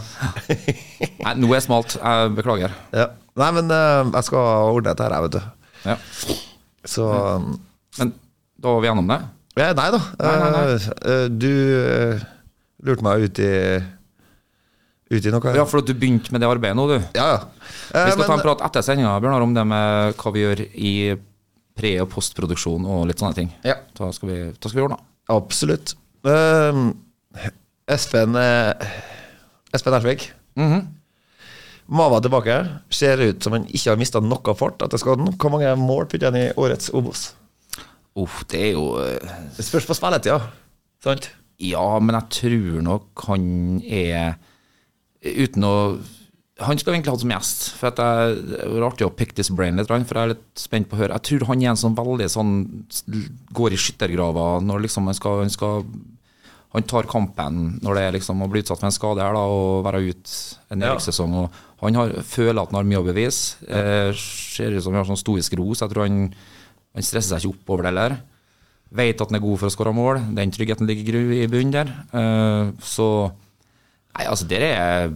[SPEAKER 1] Nei, nå er jeg smalt. Jeg beklager.
[SPEAKER 2] ja. Nei, men eh, jeg skal ordne dette her, jeg, vet du.
[SPEAKER 1] Ja.
[SPEAKER 2] Så
[SPEAKER 1] Men da var vi gjennom det.
[SPEAKER 2] eh, Nei da.
[SPEAKER 1] Mm. Nei, nei, nei.
[SPEAKER 2] Eh, eh, du eh, lurte meg ut i Ut i noe her.
[SPEAKER 1] Ja, for at du begynte med det arbeidet nå, du.
[SPEAKER 2] ja. ja. Eh,
[SPEAKER 1] Vi skal
[SPEAKER 2] men-
[SPEAKER 1] ta en prat etter sendinga, Bjørnar, om det med hva vi gjør i pre- og postproduksjon og litt sånne ting.
[SPEAKER 2] Ja.
[SPEAKER 1] Da skal vi, da skal vi ordne.
[SPEAKER 2] Absolutt. Ehm, Espen eh, Espen Ersvik.
[SPEAKER 1] Mhm.
[SPEAKER 2] Mava tilbake. Ser ut som han ikke har mista noe fart etter skaden. Hvor mange mål putter han i årets Obos?
[SPEAKER 1] Uff, det er jo eh,
[SPEAKER 2] Det spørs på spilletida. Sant?
[SPEAKER 1] Ja, men jeg tror nok han er Uten å Han skulle egentlig hatt som gjest. For at jeg, Det var artig å pick this brain litt, for jeg er litt spent på å høre. Jeg tror han er en sånn veldig sånn Går i skyttergrava når liksom han skal, han skal han tar kampen når det er liksom å bli utsatt for en skade her da, og være ute en
[SPEAKER 2] Ja.
[SPEAKER 1] nedrykkssesong. og Han har, føler at han har mye å bevise. Eh, ser ut som han har sånn stoisk ro, så jeg tror han, han stresser seg ikke opp over det heller. Vet at han er god for å skåre mål. Den tryggheten ligger i gru- i bunnen der. Eh, så Nei, altså, det er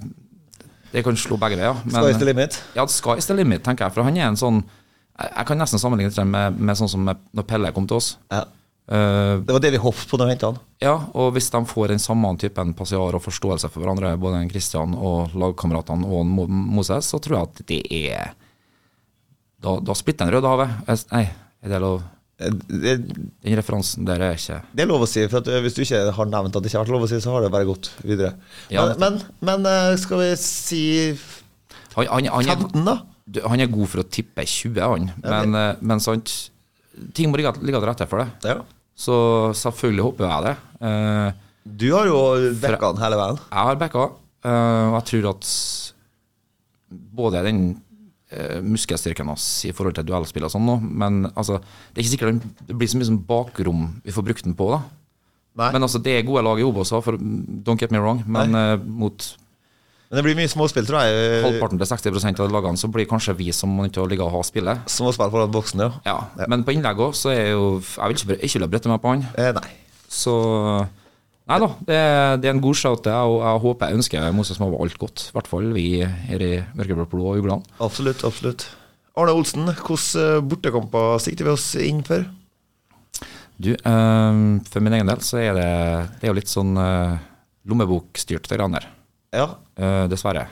[SPEAKER 1] Det kan slå begge veier. men- eh,
[SPEAKER 2] Skal vi stille limit?
[SPEAKER 1] ja, Sky is the limit, tenker jeg. For han er en sånn Jeg jeg kan nesten sammenligne det med, med sånn som med, når Pelle kom til oss.
[SPEAKER 2] Ja.
[SPEAKER 1] Eh,
[SPEAKER 2] Det var det vi hoppet på da vi henta han.
[SPEAKER 1] ja, og hvis de får den samme typen passiar og forståelse for hverandre, både en Christian og lagkameratene og en Mo- Moses, så tror jeg at det er Da, da splitter en Rødehavet. Es- Nei, er det lov?
[SPEAKER 2] Eh, Det,
[SPEAKER 1] Den referansen der er ikke
[SPEAKER 2] det er lov å si, for at eh, hvis du ikke har nevnt at det ikke har vært lov å si, så har det bare gått videre.
[SPEAKER 1] Ja,
[SPEAKER 2] Men, men, men eh, skal vi si
[SPEAKER 1] Han, han, han, er,
[SPEAKER 2] 15, da?
[SPEAKER 1] du, han er god for å tippe 20, han. Men, eh, men sant, ting må ligge ligge til rette for det.
[SPEAKER 2] Ja.
[SPEAKER 1] Så selvfølgelig håper jeg det. Eh,
[SPEAKER 2] Du har jo dekka han hele veien.
[SPEAKER 1] Jeg har backa, eh, og jeg tror at både den eh, muskelstyrken hans i forhold til duellspill og sånn nå, men altså, det er ikke sikkert den- det blir så mye som bakrom vi får brukt den på, da.
[SPEAKER 2] Nei.
[SPEAKER 1] Men altså, det er gode lag i Obos òg, for don't get me wrong, men eh, mot
[SPEAKER 2] Men det blir mye småspill, tror jeg.
[SPEAKER 1] halvparten til 60 av lagene, så blir kanskje vi som må til å ligge og ha spillet.
[SPEAKER 2] Småspill foran boksen, ja.
[SPEAKER 1] Ja, Men på innlegg òg, så er jo Jeg vil ikke, bre- ikke vil brette meg på han.
[SPEAKER 2] Eh, nei.
[SPEAKER 1] Så Nei da, det, det er en god shout. Jeg, og jeg håper jeg ønsker Moses Mava alt godt. I hvert fall vi her i mørkeblå blå og uglene.
[SPEAKER 2] Absolutt, absolutt. Arne Olsen, hvilke bortekamper sikter vi oss inn for?
[SPEAKER 1] Du, eh, for min egen del så er det, det er jo litt sånn eh, lommebokstyrt, det greiene der.
[SPEAKER 2] Ja,
[SPEAKER 1] Eh, dessverre.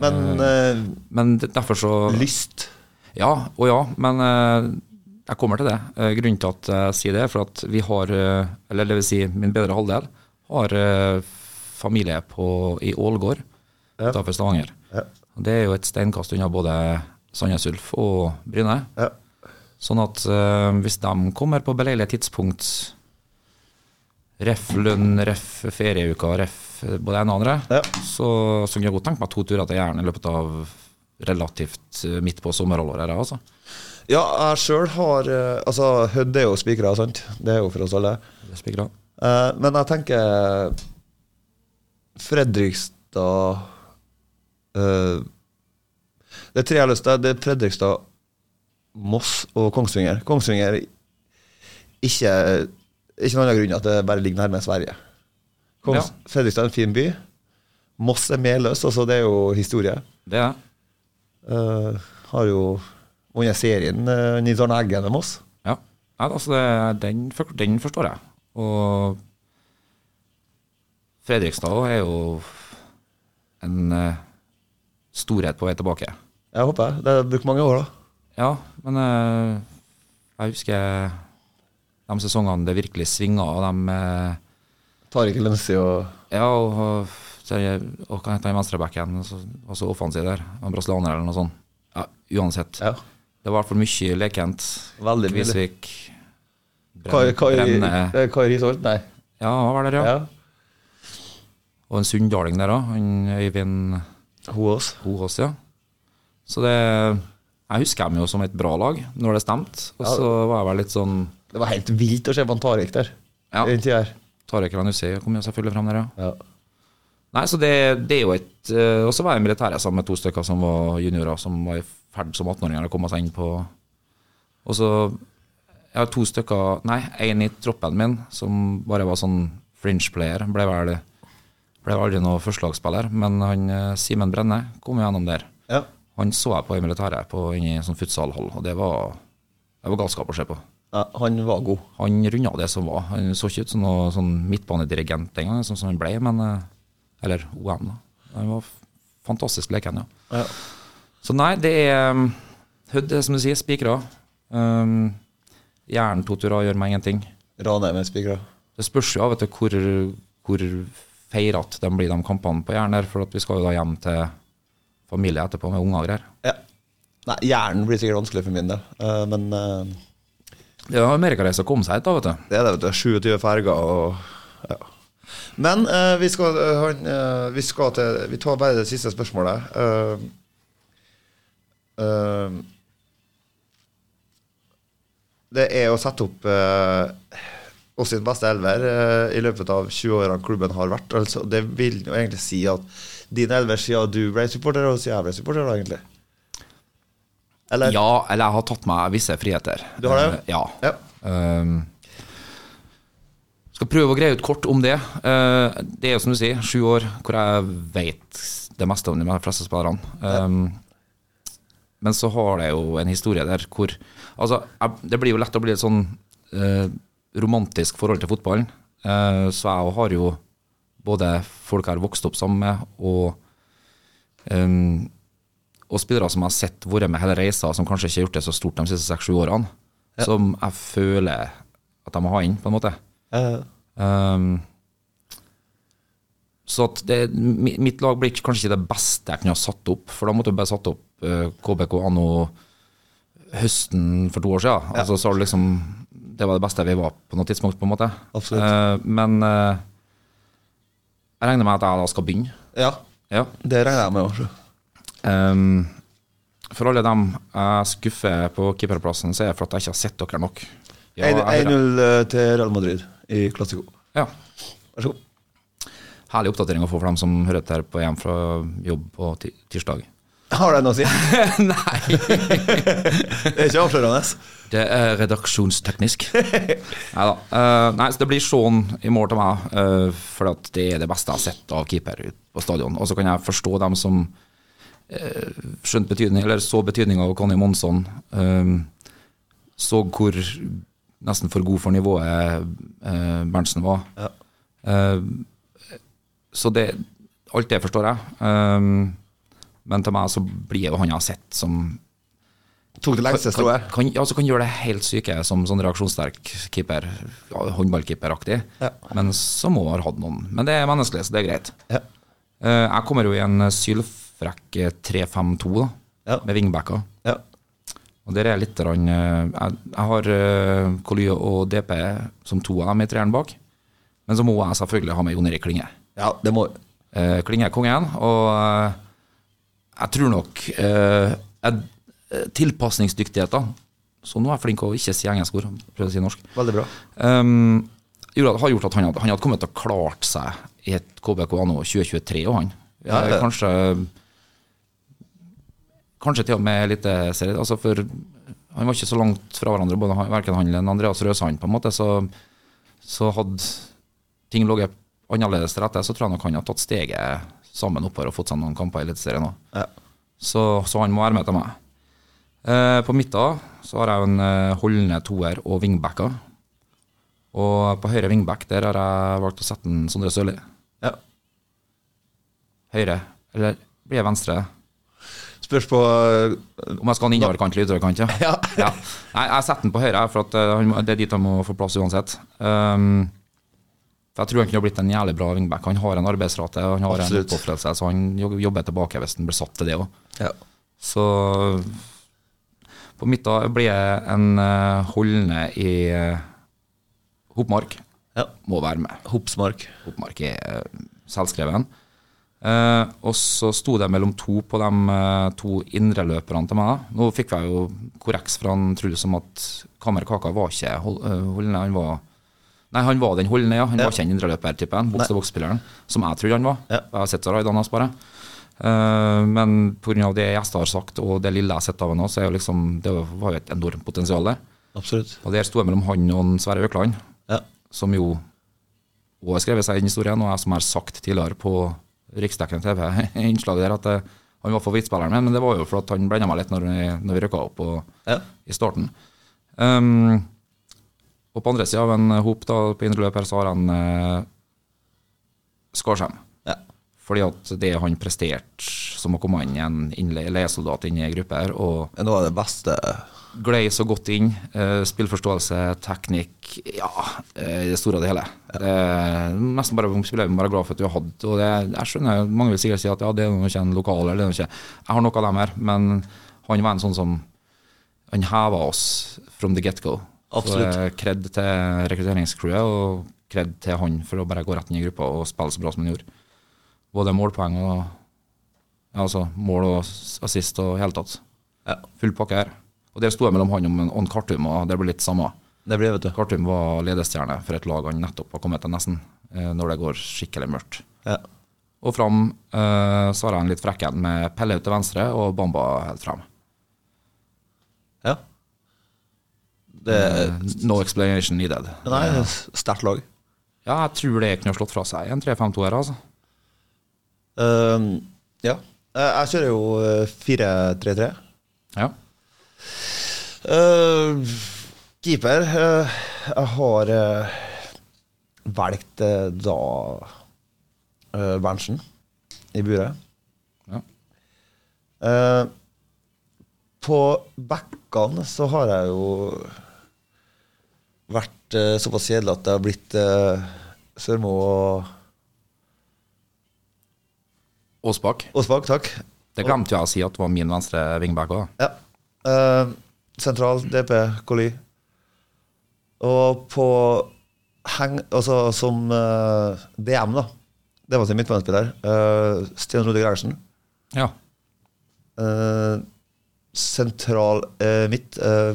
[SPEAKER 2] men eh,
[SPEAKER 1] Men det- derfor så
[SPEAKER 2] lyst
[SPEAKER 1] Ja og ja, men eh, jeg kommer til det. Eh, grunnen til at jeg sier det, er for at vi har, eh, eller det vil si min bedre halvdel, har eh, familie på, i Ålgård
[SPEAKER 2] Ja.
[SPEAKER 1] utenfor Stavanger.
[SPEAKER 2] Ja.
[SPEAKER 1] Og Det er jo et steinkast unna både Sandnes Ulf og Bryne.
[SPEAKER 2] ja.
[SPEAKER 1] Sånn at eh, hvis de kommer på beleilig tidspunkt, ref lønn, ref ferieuka, ref eh, både en og andre,
[SPEAKER 2] Ja.
[SPEAKER 1] så, så kan jeg godt tenke meg to turer til Jæren i løpet av relativt eh, midt på sommerhalvåret. her, altså.
[SPEAKER 2] ja, jeg sjøl har eh, Altså, Hødd er jo spikra, sant? Det er jo for oss alle.
[SPEAKER 1] Det spikra.
[SPEAKER 2] Eh, men jeg tenker Fredrikstad eh, Det er tre jeg har lyst til. Det er Fredrikstad, Moss og Kongsvinger. Kongsvinger ikke, ikke noen annen grunn enn at det bare ligger nærme Sverige. Kongs, Fredrikstad er en fin by. Moss er medløs, altså det er jo historie.
[SPEAKER 1] Det er det.
[SPEAKER 2] Eh, har jo vunnet serien uh, Nils Arne eh, Eggen med Moss.
[SPEAKER 1] Ja. Nei, altså det, den, for- den forstår jeg. Og Fredrikstad også er jo en eh, storhet på vei tilbake.
[SPEAKER 2] Jeg håper jeg. Det har brukt mange år, da.
[SPEAKER 1] Ja, men eh, jeg husker de sesongene det virkelig svinga, og de eh,
[SPEAKER 2] Tariq Elensi og
[SPEAKER 1] Ja, og, og, så jeg- og hva heter han venstrebacken, og så og så offensiv der? Han brasilianer eller noe sånt. Ja, uansett.
[SPEAKER 2] Ja.
[SPEAKER 1] Det var i hvert fall mye lekent.
[SPEAKER 2] Veldig mye.
[SPEAKER 1] Kvisvik. Brenn-
[SPEAKER 2] Kai- Kai-
[SPEAKER 1] Brenne.
[SPEAKER 2] eh, Kai Risholt? Nei.
[SPEAKER 1] Ja, han var der, ja.
[SPEAKER 2] Ja.
[SPEAKER 1] Og en sunndaling der òg. Øyvind
[SPEAKER 2] Hun også.
[SPEAKER 1] Hoås, ja. Så det Jeg husker dem jo som et bra lag når det stemte. Og
[SPEAKER 2] Ja.
[SPEAKER 1] så var jeg vel litt sånn
[SPEAKER 2] Det var helt vilt å se på han Tariq der.
[SPEAKER 1] Ja.
[SPEAKER 2] Den tida her.
[SPEAKER 1] Tarek Ranussi kom jo selvfølgelig fram der, ja.
[SPEAKER 2] Ja.
[SPEAKER 1] Nei, så det, det er jo et eh, Og så var jeg i militæret sammen med to stykker som var juniorer, som var i ferd som 18-åringer å komme seg inn på Og så Jeg har to stykker Nei, én i troppen min som bare var sånn fringe-player. Ble vel ble vel aldri noen førstelagsspiller, men han eh, Simen Brenne kom jo gjennom der.
[SPEAKER 2] ja.
[SPEAKER 1] Han så jeg på i militæret, på inne i en sånn futsalhall, og det var, det var galskap å se på.
[SPEAKER 2] ja. Han var god.
[SPEAKER 1] Han runda det som var. Han så ikke ut som noen sånn midtbanedirigent den gangen, sånn som han ble, men eh, Eller OM, da. Han var f- fantastisk leken, ja.
[SPEAKER 2] Ja.
[SPEAKER 1] Så nei, det er um, Hødd, er som du sier, spikra. Um, Jern to turer gjør meg ingenting.
[SPEAKER 2] Ranheim er spikra.
[SPEAKER 1] Det spørs jo vet du, hvor, hvor feirete de blir, de kampene på Jæren der, for at vi skal jo da hjem til familie etterpå med unger og greier.
[SPEAKER 2] Ja. Nei, hjernen blir sikkert vanskelig for min del. Eh, men eh,
[SPEAKER 1] Det er amerikareise å komme seg hit, da, vet du.
[SPEAKER 2] det er det, vet du. 27 ferger og ja. Men eh, vi, skal, eh, han, eh, vi skal til Vi tar bare det siste spørsmålet. Eh, eh, det er å sette opp eh, oss sin beste elver eh, i løpet av 20 årene klubben har vært. Altså, det vil jo egentlig si at din elver siden du ble supporter, og siden jeg ble supporter, da, egentlig. Eller?
[SPEAKER 1] Ja, eller jeg har tatt meg visse friheter.
[SPEAKER 2] Du har det?
[SPEAKER 1] Eh, Ja.
[SPEAKER 2] Ja.
[SPEAKER 1] Ehm, skal prøve å greie ut kort om det. Eh, det er jo som du sier, sju år hvor jeg vet det meste om de fleste spillerne. Ehm, Men så har det jo en historie der hvor Altså, jeg, det blir jo lett å bli et sånn eh, romantisk forhold til fotballen. Eh, så jeg har jo både folk jeg har vokst opp sammen med, og ehm, og spillere som jeg har sett vært med hele reisa, som kanskje ikke har gjort det så stort de siste seks-sju årene, som jeg føler at de må ha inn, på en måte.
[SPEAKER 2] Eh,
[SPEAKER 1] Ehm, så at det, mi- mitt lag blir ikke- kanskje ikke det beste jeg kunne ha satt opp, for da måtte jeg bare satt opp eh, KBK anno høsten for to år siden. Altså, så har du liksom, det var det beste vi var på noe tidspunkt, på en måte.
[SPEAKER 2] Absolutt.
[SPEAKER 1] Eh, men eh, jeg regner med at jeg da skal begynne.
[SPEAKER 2] ja.
[SPEAKER 1] Ja.
[SPEAKER 2] Det regner jeg med. Også.
[SPEAKER 1] Ehm, for alle dem jeg skuffer på keeperplassen, så er det for at jeg ikke har sett dere nok. Ja, jeg hører.
[SPEAKER 2] 1-0 eh, til Real Madrid i Classico.
[SPEAKER 1] Ja.
[SPEAKER 2] Vær så god.
[SPEAKER 1] Herlig oppdatering å få for dem som hører til her på hjem fra jobb på ti- tirsdag.
[SPEAKER 2] Har det
[SPEAKER 1] [laughs]
[SPEAKER 2] noe å si?
[SPEAKER 1] Nei!
[SPEAKER 2] Det er ikke avslørende.
[SPEAKER 1] Det er redaksjonsteknisk. Neida. Eh, nei, så det blir sånn i mål til meg, eh, for at det er det beste jeg har sett av keeper ut på stadion. Og så kan jeg forstå dem som eh, skjønte betydning, eller så betydninga av Conny Monsson. eh, så hvor nesten for god for nivået eh, Berntsen var.
[SPEAKER 2] Ja.
[SPEAKER 1] Eh, så det Alt det forstår jeg. Eh, men til meg så blir jo han jeg har sett, som
[SPEAKER 2] Tok det lengste strået.
[SPEAKER 1] kan, kan, ja, så kan gjøre det helt syke som sånn reaksjonssterk keeper, ja, håndballkeeperaktig.
[SPEAKER 2] Ja.
[SPEAKER 1] Men så må ha hatt noen. Men det er menneskelig, så det er greit.
[SPEAKER 2] Ja.
[SPEAKER 1] Eh, jeg kommer jo i en sylfrekk 3-5-2 da,
[SPEAKER 2] Ja.
[SPEAKER 1] med vingbacker.
[SPEAKER 2] Ja.
[SPEAKER 1] Og der er jeg litt grann, eh, jeg, jeg har uh, Kolye og DP som to av dem i treeren bak. Men så må jeg selvfølgelig ha med Jon Erik Klinge.
[SPEAKER 2] ja, det må
[SPEAKER 1] Eh, Klinge er kongen, og eh, jeg tror nok eh, jeg, eh, tilpasningsdyktigheten Så nå er jeg flink å ikke si engelsk ord, prøve å si norsk.
[SPEAKER 2] Veldig bra.
[SPEAKER 1] Um, gjorde, at- har gjort at han hadde, han hadde kommet til å klart seg i et KBK anno 2023 og han.
[SPEAKER 2] Ja,
[SPEAKER 1] Eh,
[SPEAKER 2] ja.
[SPEAKER 1] Kanskje Kanskje til og med litt eh, seri- altså for Han var ikke så langt fra hverandre, både han- verken han eller Andreas Røsand, på en måte. Så, så hadde ting ligget annerledes til rette, så tror jeg nok han har tatt steget sammen oppover og fått seg noen kamper i Eliteserien òg.
[SPEAKER 2] Ja.
[SPEAKER 1] Så, så han må være med til meg. Eh, på midten så har jeg en eh, holdende toer og wingbacker. Og på høyre wingback der har jeg valgt å sette en Sondre Sørli.
[SPEAKER 2] Ja.
[SPEAKER 1] Høyre, eller blir jeg venstre?
[SPEAKER 2] Spørs på eh,
[SPEAKER 1] Om jeg skal ha en innoverkant eller ytterkant, ja.
[SPEAKER 2] Ja.
[SPEAKER 1] ja. Nei, jeg setter den på høyre, for at eh, han, må- det er dit han må få plass uansett. Um, for jeg tror han kunne ha blitt en jævlig bra wingback. Han har en arbeidsrate, han har
[SPEAKER 2] Absolutt.
[SPEAKER 1] en oppofrelse, så han jo- jobber tilbake hvis han blir satt til det òg.
[SPEAKER 2] ja.
[SPEAKER 1] Så på midten blir jeg en eh, holdende i eh, Hopmark.
[SPEAKER 2] Ja.
[SPEAKER 1] Må være med.
[SPEAKER 2] Hopsmark.
[SPEAKER 1] Hopmark er eh, selvskreven. Eh, og så sto det mellom to på de eh, to indreløperne til meg. Nå fikk jeg jo korreks fra han Truls om at Kamer Kaka var ikke hold, eh, holdende. Han var, nei, han var den holdende, ja. Han var ikke den indreløpertypen, boks-til-boks-spilleren, som jeg trodde han var.
[SPEAKER 2] Ja.
[SPEAKER 1] Jeg har sett så raidene hans bare. Eh, men pga. det gjester har sagt, og det lille jeg har sett av ham, så er jo liksom, det var jo et enormt potensial der.
[SPEAKER 2] Absolutt.
[SPEAKER 1] Og der sto jeg mellom han og en Sverre Økland
[SPEAKER 2] Ja.
[SPEAKER 1] som jo også har skrevet seg inn i historien, og jeg som har sagt tidligere på riksdekkende [laughs] TV innslaget der at eh, han var favorittspilleren min, men det var jo fordi han blenda meg litt når vi, når vi rykka opp og,
[SPEAKER 2] Ja.
[SPEAKER 1] i starten. Ehm, og på andre sida av en hop da, på indre løp her, så har han eh, Skarsheim.
[SPEAKER 2] Ja.
[SPEAKER 1] Fordi at det han presterte som å komme inn i en innle- leiesoldat inne i ei gruppe her, og
[SPEAKER 2] Det var det beste
[SPEAKER 1] glei så godt inn. eh, spillforståelse, teknikk, ja, eh, i det store og det hele. Eh, nesten bare spiller jeg bare glad for at vi har hatt og det. Jeg skjønner, Mange vil sikkert si at ja, det er noe ikke en lokal, eller det er noe ikke Jeg har noe av dem her, men han var en sånn som Han heva oss from the get-go.
[SPEAKER 2] Absolutt.
[SPEAKER 1] Så eh, Kred til rekrutteringscrewet, og kred til han for å bare gå rett inn i gruppa og spille så bra som han gjorde. Både målpoeng og ja, altså, mål og assist og i hele tatt
[SPEAKER 2] Ja.
[SPEAKER 1] full pakke her. Og der sto jeg mellom han og, en- og en Kartum, og det ble litt samme.
[SPEAKER 2] Det blir, vet du.
[SPEAKER 1] Kartum var ledestjerne for et lag han nettopp har kommet til, nesten, eh, når det går skikkelig mørkt.
[SPEAKER 2] Ja.
[SPEAKER 1] Og fram eh, så har jeg en litt frekk en med Pelle ut til venstre og Bamba helt frem.
[SPEAKER 2] ja. Det
[SPEAKER 1] Eh, No explanation needed.
[SPEAKER 2] Nei, det er et sterkt lag.
[SPEAKER 1] Ja, jeg tror det kunne slått fra seg en 3-5-2-er, altså.
[SPEAKER 2] Ehm, ja. Eh, Jeg kjører jo eh, 4-3-3.
[SPEAKER 1] Ja.
[SPEAKER 2] Eh, keeper eh, Jeg har eh, valgt eh, da eh, Berntsen i buret.
[SPEAKER 1] Ja.
[SPEAKER 2] Eh, på bekkene så har jeg jo vært eh, såpass kjedelig at det har blitt eh, Sørmo og
[SPEAKER 1] Aasbakk.
[SPEAKER 2] Åsbakk, takk.
[SPEAKER 1] Det glemte jeg å si at var min venstre wingback òg.
[SPEAKER 2] Ja. Eh, sentral, DP, Koli. Og på heng, altså som eh, DM, da. Det var til midtbanespiller. eh, Stian Rode Gerhardsen.
[SPEAKER 1] Ja.
[SPEAKER 2] Eh, sentral eh, midt. eh,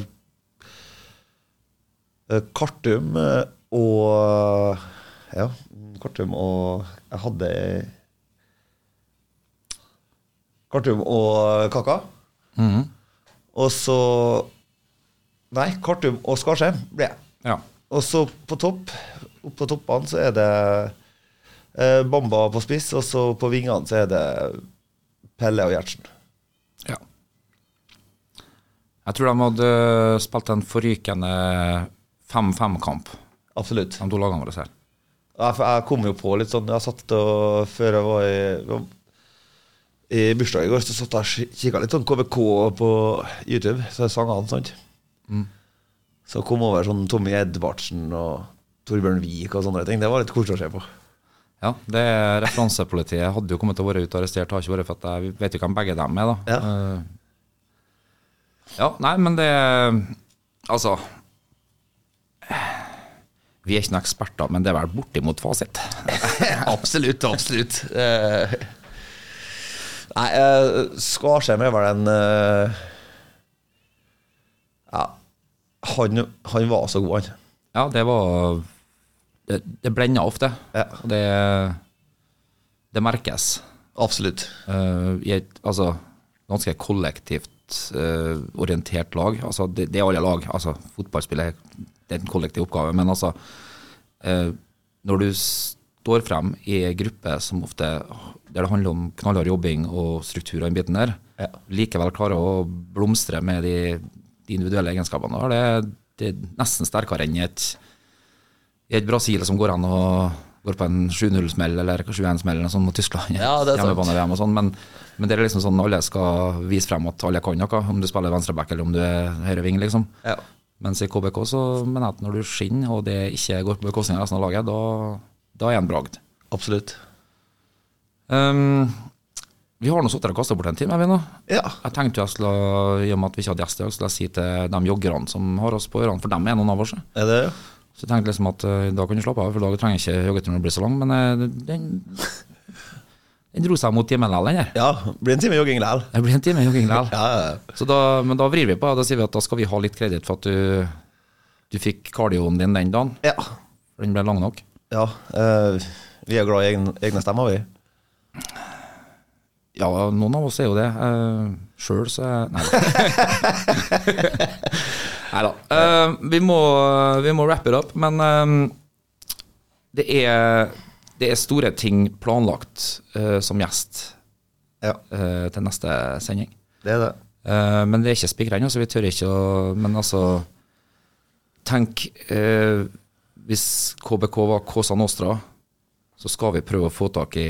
[SPEAKER 2] eh, Kartum eh, og Ja, Kartum og Jeg hadde Kartum og Kaka.
[SPEAKER 1] Mhm.
[SPEAKER 2] Og så Nei, Kartum og Skarsheim ble jeg.
[SPEAKER 1] ja.
[SPEAKER 2] Og så på topp, opp på toppene så er det eh, Bamba på spiss, og så på vingene så er det Pelle og Gjertsen.
[SPEAKER 1] Ja. Jeg tror de hadde eh, spilt en forrykende 5-5-kamp,
[SPEAKER 2] Absolutt.
[SPEAKER 1] de to lagene våre her.
[SPEAKER 2] Ja, for Jeg kom jo på litt sånn Jeg satt og Før jeg var i, i bursdag i går, så satt jeg og kikka litt sånn KBK på YouTube, så jeg sang han, sant. Mm. Så kom over sånn Tommy Edvardsen og Torbjørn Vik og sånne ting. Det var litt koselig å se på.
[SPEAKER 1] Ja, det er referansepolitiet hadde jo kommet til å være ute og arrestert, har ikke vært for at jeg vet jo hvem begge dem er, da. Eh, ja, nei, men det Altså Vi er ikke noen eksperter, men det er vel bortimot fasit.
[SPEAKER 2] [laughs] absolutt, absolutt. Eh, nei, eh, Skarsheim er vel en eh, Ja, han, han var så god, han.
[SPEAKER 1] Ja, det var Det, det blenda ofte.
[SPEAKER 2] Ja.
[SPEAKER 1] Og det, det merkes.
[SPEAKER 2] Absolutt.
[SPEAKER 1] eh, i et altså, ganske kollektivt eh, orientert lag. Altså, det, det er alle lag. Altså, fotballspill er, det er en kollektiv oppgave. Men altså, eh, når du står frem i en gruppe som ofte, der det handler om knallhard jobbing og struktur og den biten der,
[SPEAKER 2] Ja.
[SPEAKER 1] likevel klarer å blomstre med de, de individuelle egenskapene. han har, Det, det er nesten sterkere enn i et, i et Brasil som går an og går på en 7-0-smell eller 7-1-smell eller noe sånt mot Tyskland.
[SPEAKER 2] Ja,
[SPEAKER 1] [laughs]
[SPEAKER 2] det er sant.
[SPEAKER 1] Hjemmebane-VM og sånn, men, men det er liksom sånn alle skal vise frem at alle kan noe, om du spiller venstreback eller om du er høyreving, liksom.
[SPEAKER 2] Ja.
[SPEAKER 1] Mens i KBK så mener jeg at når du skinner, og det ikke går på bekostning av resten av laget, da, da er en bragd.
[SPEAKER 2] Absolutt.
[SPEAKER 1] Ehm, vi har nå sittet og kasta bort en time, vi nå.
[SPEAKER 2] Ja.
[SPEAKER 1] Jeg tenkte jeg skulle, i og med at vi ikke hadde gjester, skulle jeg si til de joggerne som har oss på ørene, for dem er noen av oss.
[SPEAKER 2] Er det
[SPEAKER 1] Så jeg tenkte liksom at eh, da kan du slappe av, for da trenger ikke joggeturen å bli så lang. Men eh, den, den dro seg mot timen likevel, den der.
[SPEAKER 2] Ja. Blir en time jogging likevel.
[SPEAKER 1] Det blir en time jogging likevel.
[SPEAKER 2] Ja, ja, ja.
[SPEAKER 1] Så da, men da vrir vi på, og da sier vi at da skal vi ha litt kreditt for at du, du fikk kardioen din den dagen.
[SPEAKER 2] ja.
[SPEAKER 1] For den ble lang nok.
[SPEAKER 2] ja. eh, vi er glad i egne, egne stemmer, vi.
[SPEAKER 1] Ja, noen av oss er jo det. Uh, Sjøl så er- Nei da. Eh, vi, må, vi må wrap it up, men eh, det, er, det er store ting planlagt eh, som gjest
[SPEAKER 2] Ja,
[SPEAKER 1] eh, til neste sending.
[SPEAKER 2] det er det.
[SPEAKER 1] Eh, men det er ikke spikra ennå, så vi tør ikke å Men altså, tenk eh, Hvis KBK var Cosa Nostra, så skal vi prøve å få tak i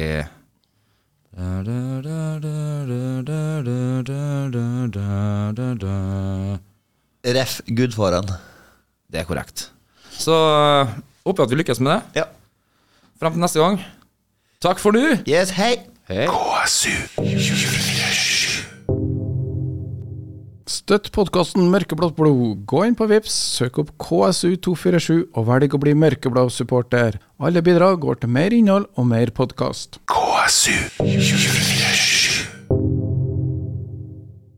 [SPEAKER 1] Det
[SPEAKER 2] Ref. Gudfaren.
[SPEAKER 1] er korrekt. Så eh, håper jeg at vi lykkes med det.
[SPEAKER 2] Ja.
[SPEAKER 1] Frem til neste gang. Takk for nå.
[SPEAKER 2] Yes, hei!
[SPEAKER 1] Hei.
[SPEAKER 4] Støtt podkasten Mørkeblått blod. Gå inn på Vips, søk opp KSU247 og velg å bli mørkeblå supporter. Alle bidrag går til mer innhold og mer podkast.
[SPEAKER 5] KSU 24